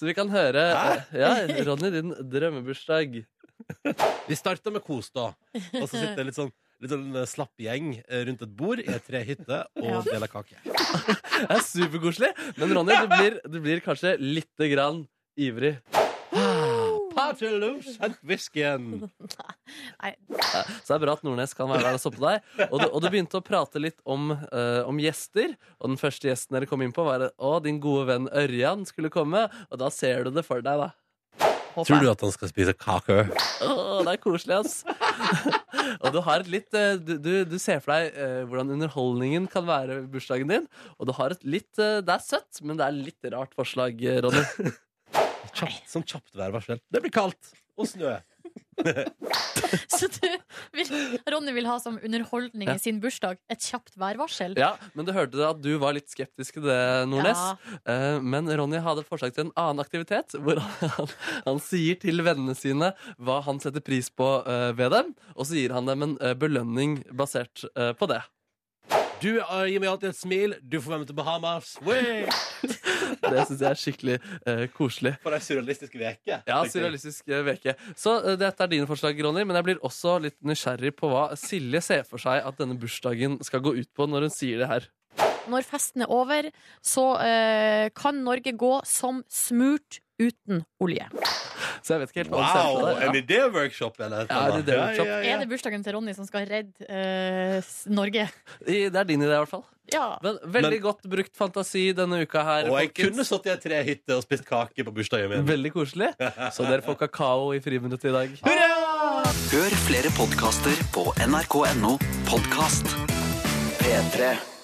Så vi kan høre eh, Ja, Ronny, din drømmebursdag. Vi starter med kos, da. Og så sitter det litt sånn Litt sånn eh, slapp gjeng eh, rundt et bord i ei trehytte Ja. og deler kake. Det er superkoselig. Men Ronny, du blir, du blir kanskje lite grann ivrig. Party loose and whiskyen. Så det er bra at Nordnes kan være der og stoppe deg. Og du, og du begynte å prate litt om, eh, om gjester. Og den første gjesten dere kom inn på, var å, din gode venn Ørjan skulle komme. Og da ser du det for deg, da. Tror du at han skal spise kake? Åh, det er koselig, ass. og du har et litt eh, Du, du, du ser for deg eh, hvordan underholdningen kan være i bursdagen din. Og du har et litt eh, Det er søtt, men det er litt rart forslag, eh, Ronny. Kjapt, sånn kjapt værvarsel. Det blir kaldt. Og snø. Så du vil, Ronny vil ha som underholdning Ja. i sin bursdag et kjapt værvarsel? Ja, Men du hørte at du var litt skeptisk til det, Nordnes. Ja. Eh, men Ronny hadde et forslag til en annen aktivitet, hvor han, han sier til vennene sine hva han setter pris på eh, ved dem, og så gir han dem en eh, belønning basert eh, på det. Du eh, gir meg alltid et smil. Du får være med til Bahamas. Wey! Det syns jeg er skikkelig eh, koselig. For ei surrealistisk veke. Ja, surrealistisk eh, veke. Så eh, dette er dine forslag, Ronny, men jeg blir også litt nysgjerrig på hva Silje ser for seg at denne bursdagen skal gå ut på når hun sier det her. Når festen er over, så eh, kan Norge gå som smurt uten olje. Sånn Så jeg vet ikke helt hva hun Wow! ser for En seg. idéworkshop, eller? et Ja, eller en annet. idéworkshop. Er det bursdagen til Ronny som skal redde eh, s- Norge? Ja. I- Det er din idé, i hvert fall. Ja. Men veldig Men- godt brukt fantasi denne uka her, Og jeg kunne folkens. sittet i ei trehytte og spist kake på bursdagen min. Veldig koselig. Så dere får kakao i friminuttet i dag. Hør flere podkaster på nrk.no podkast. P3.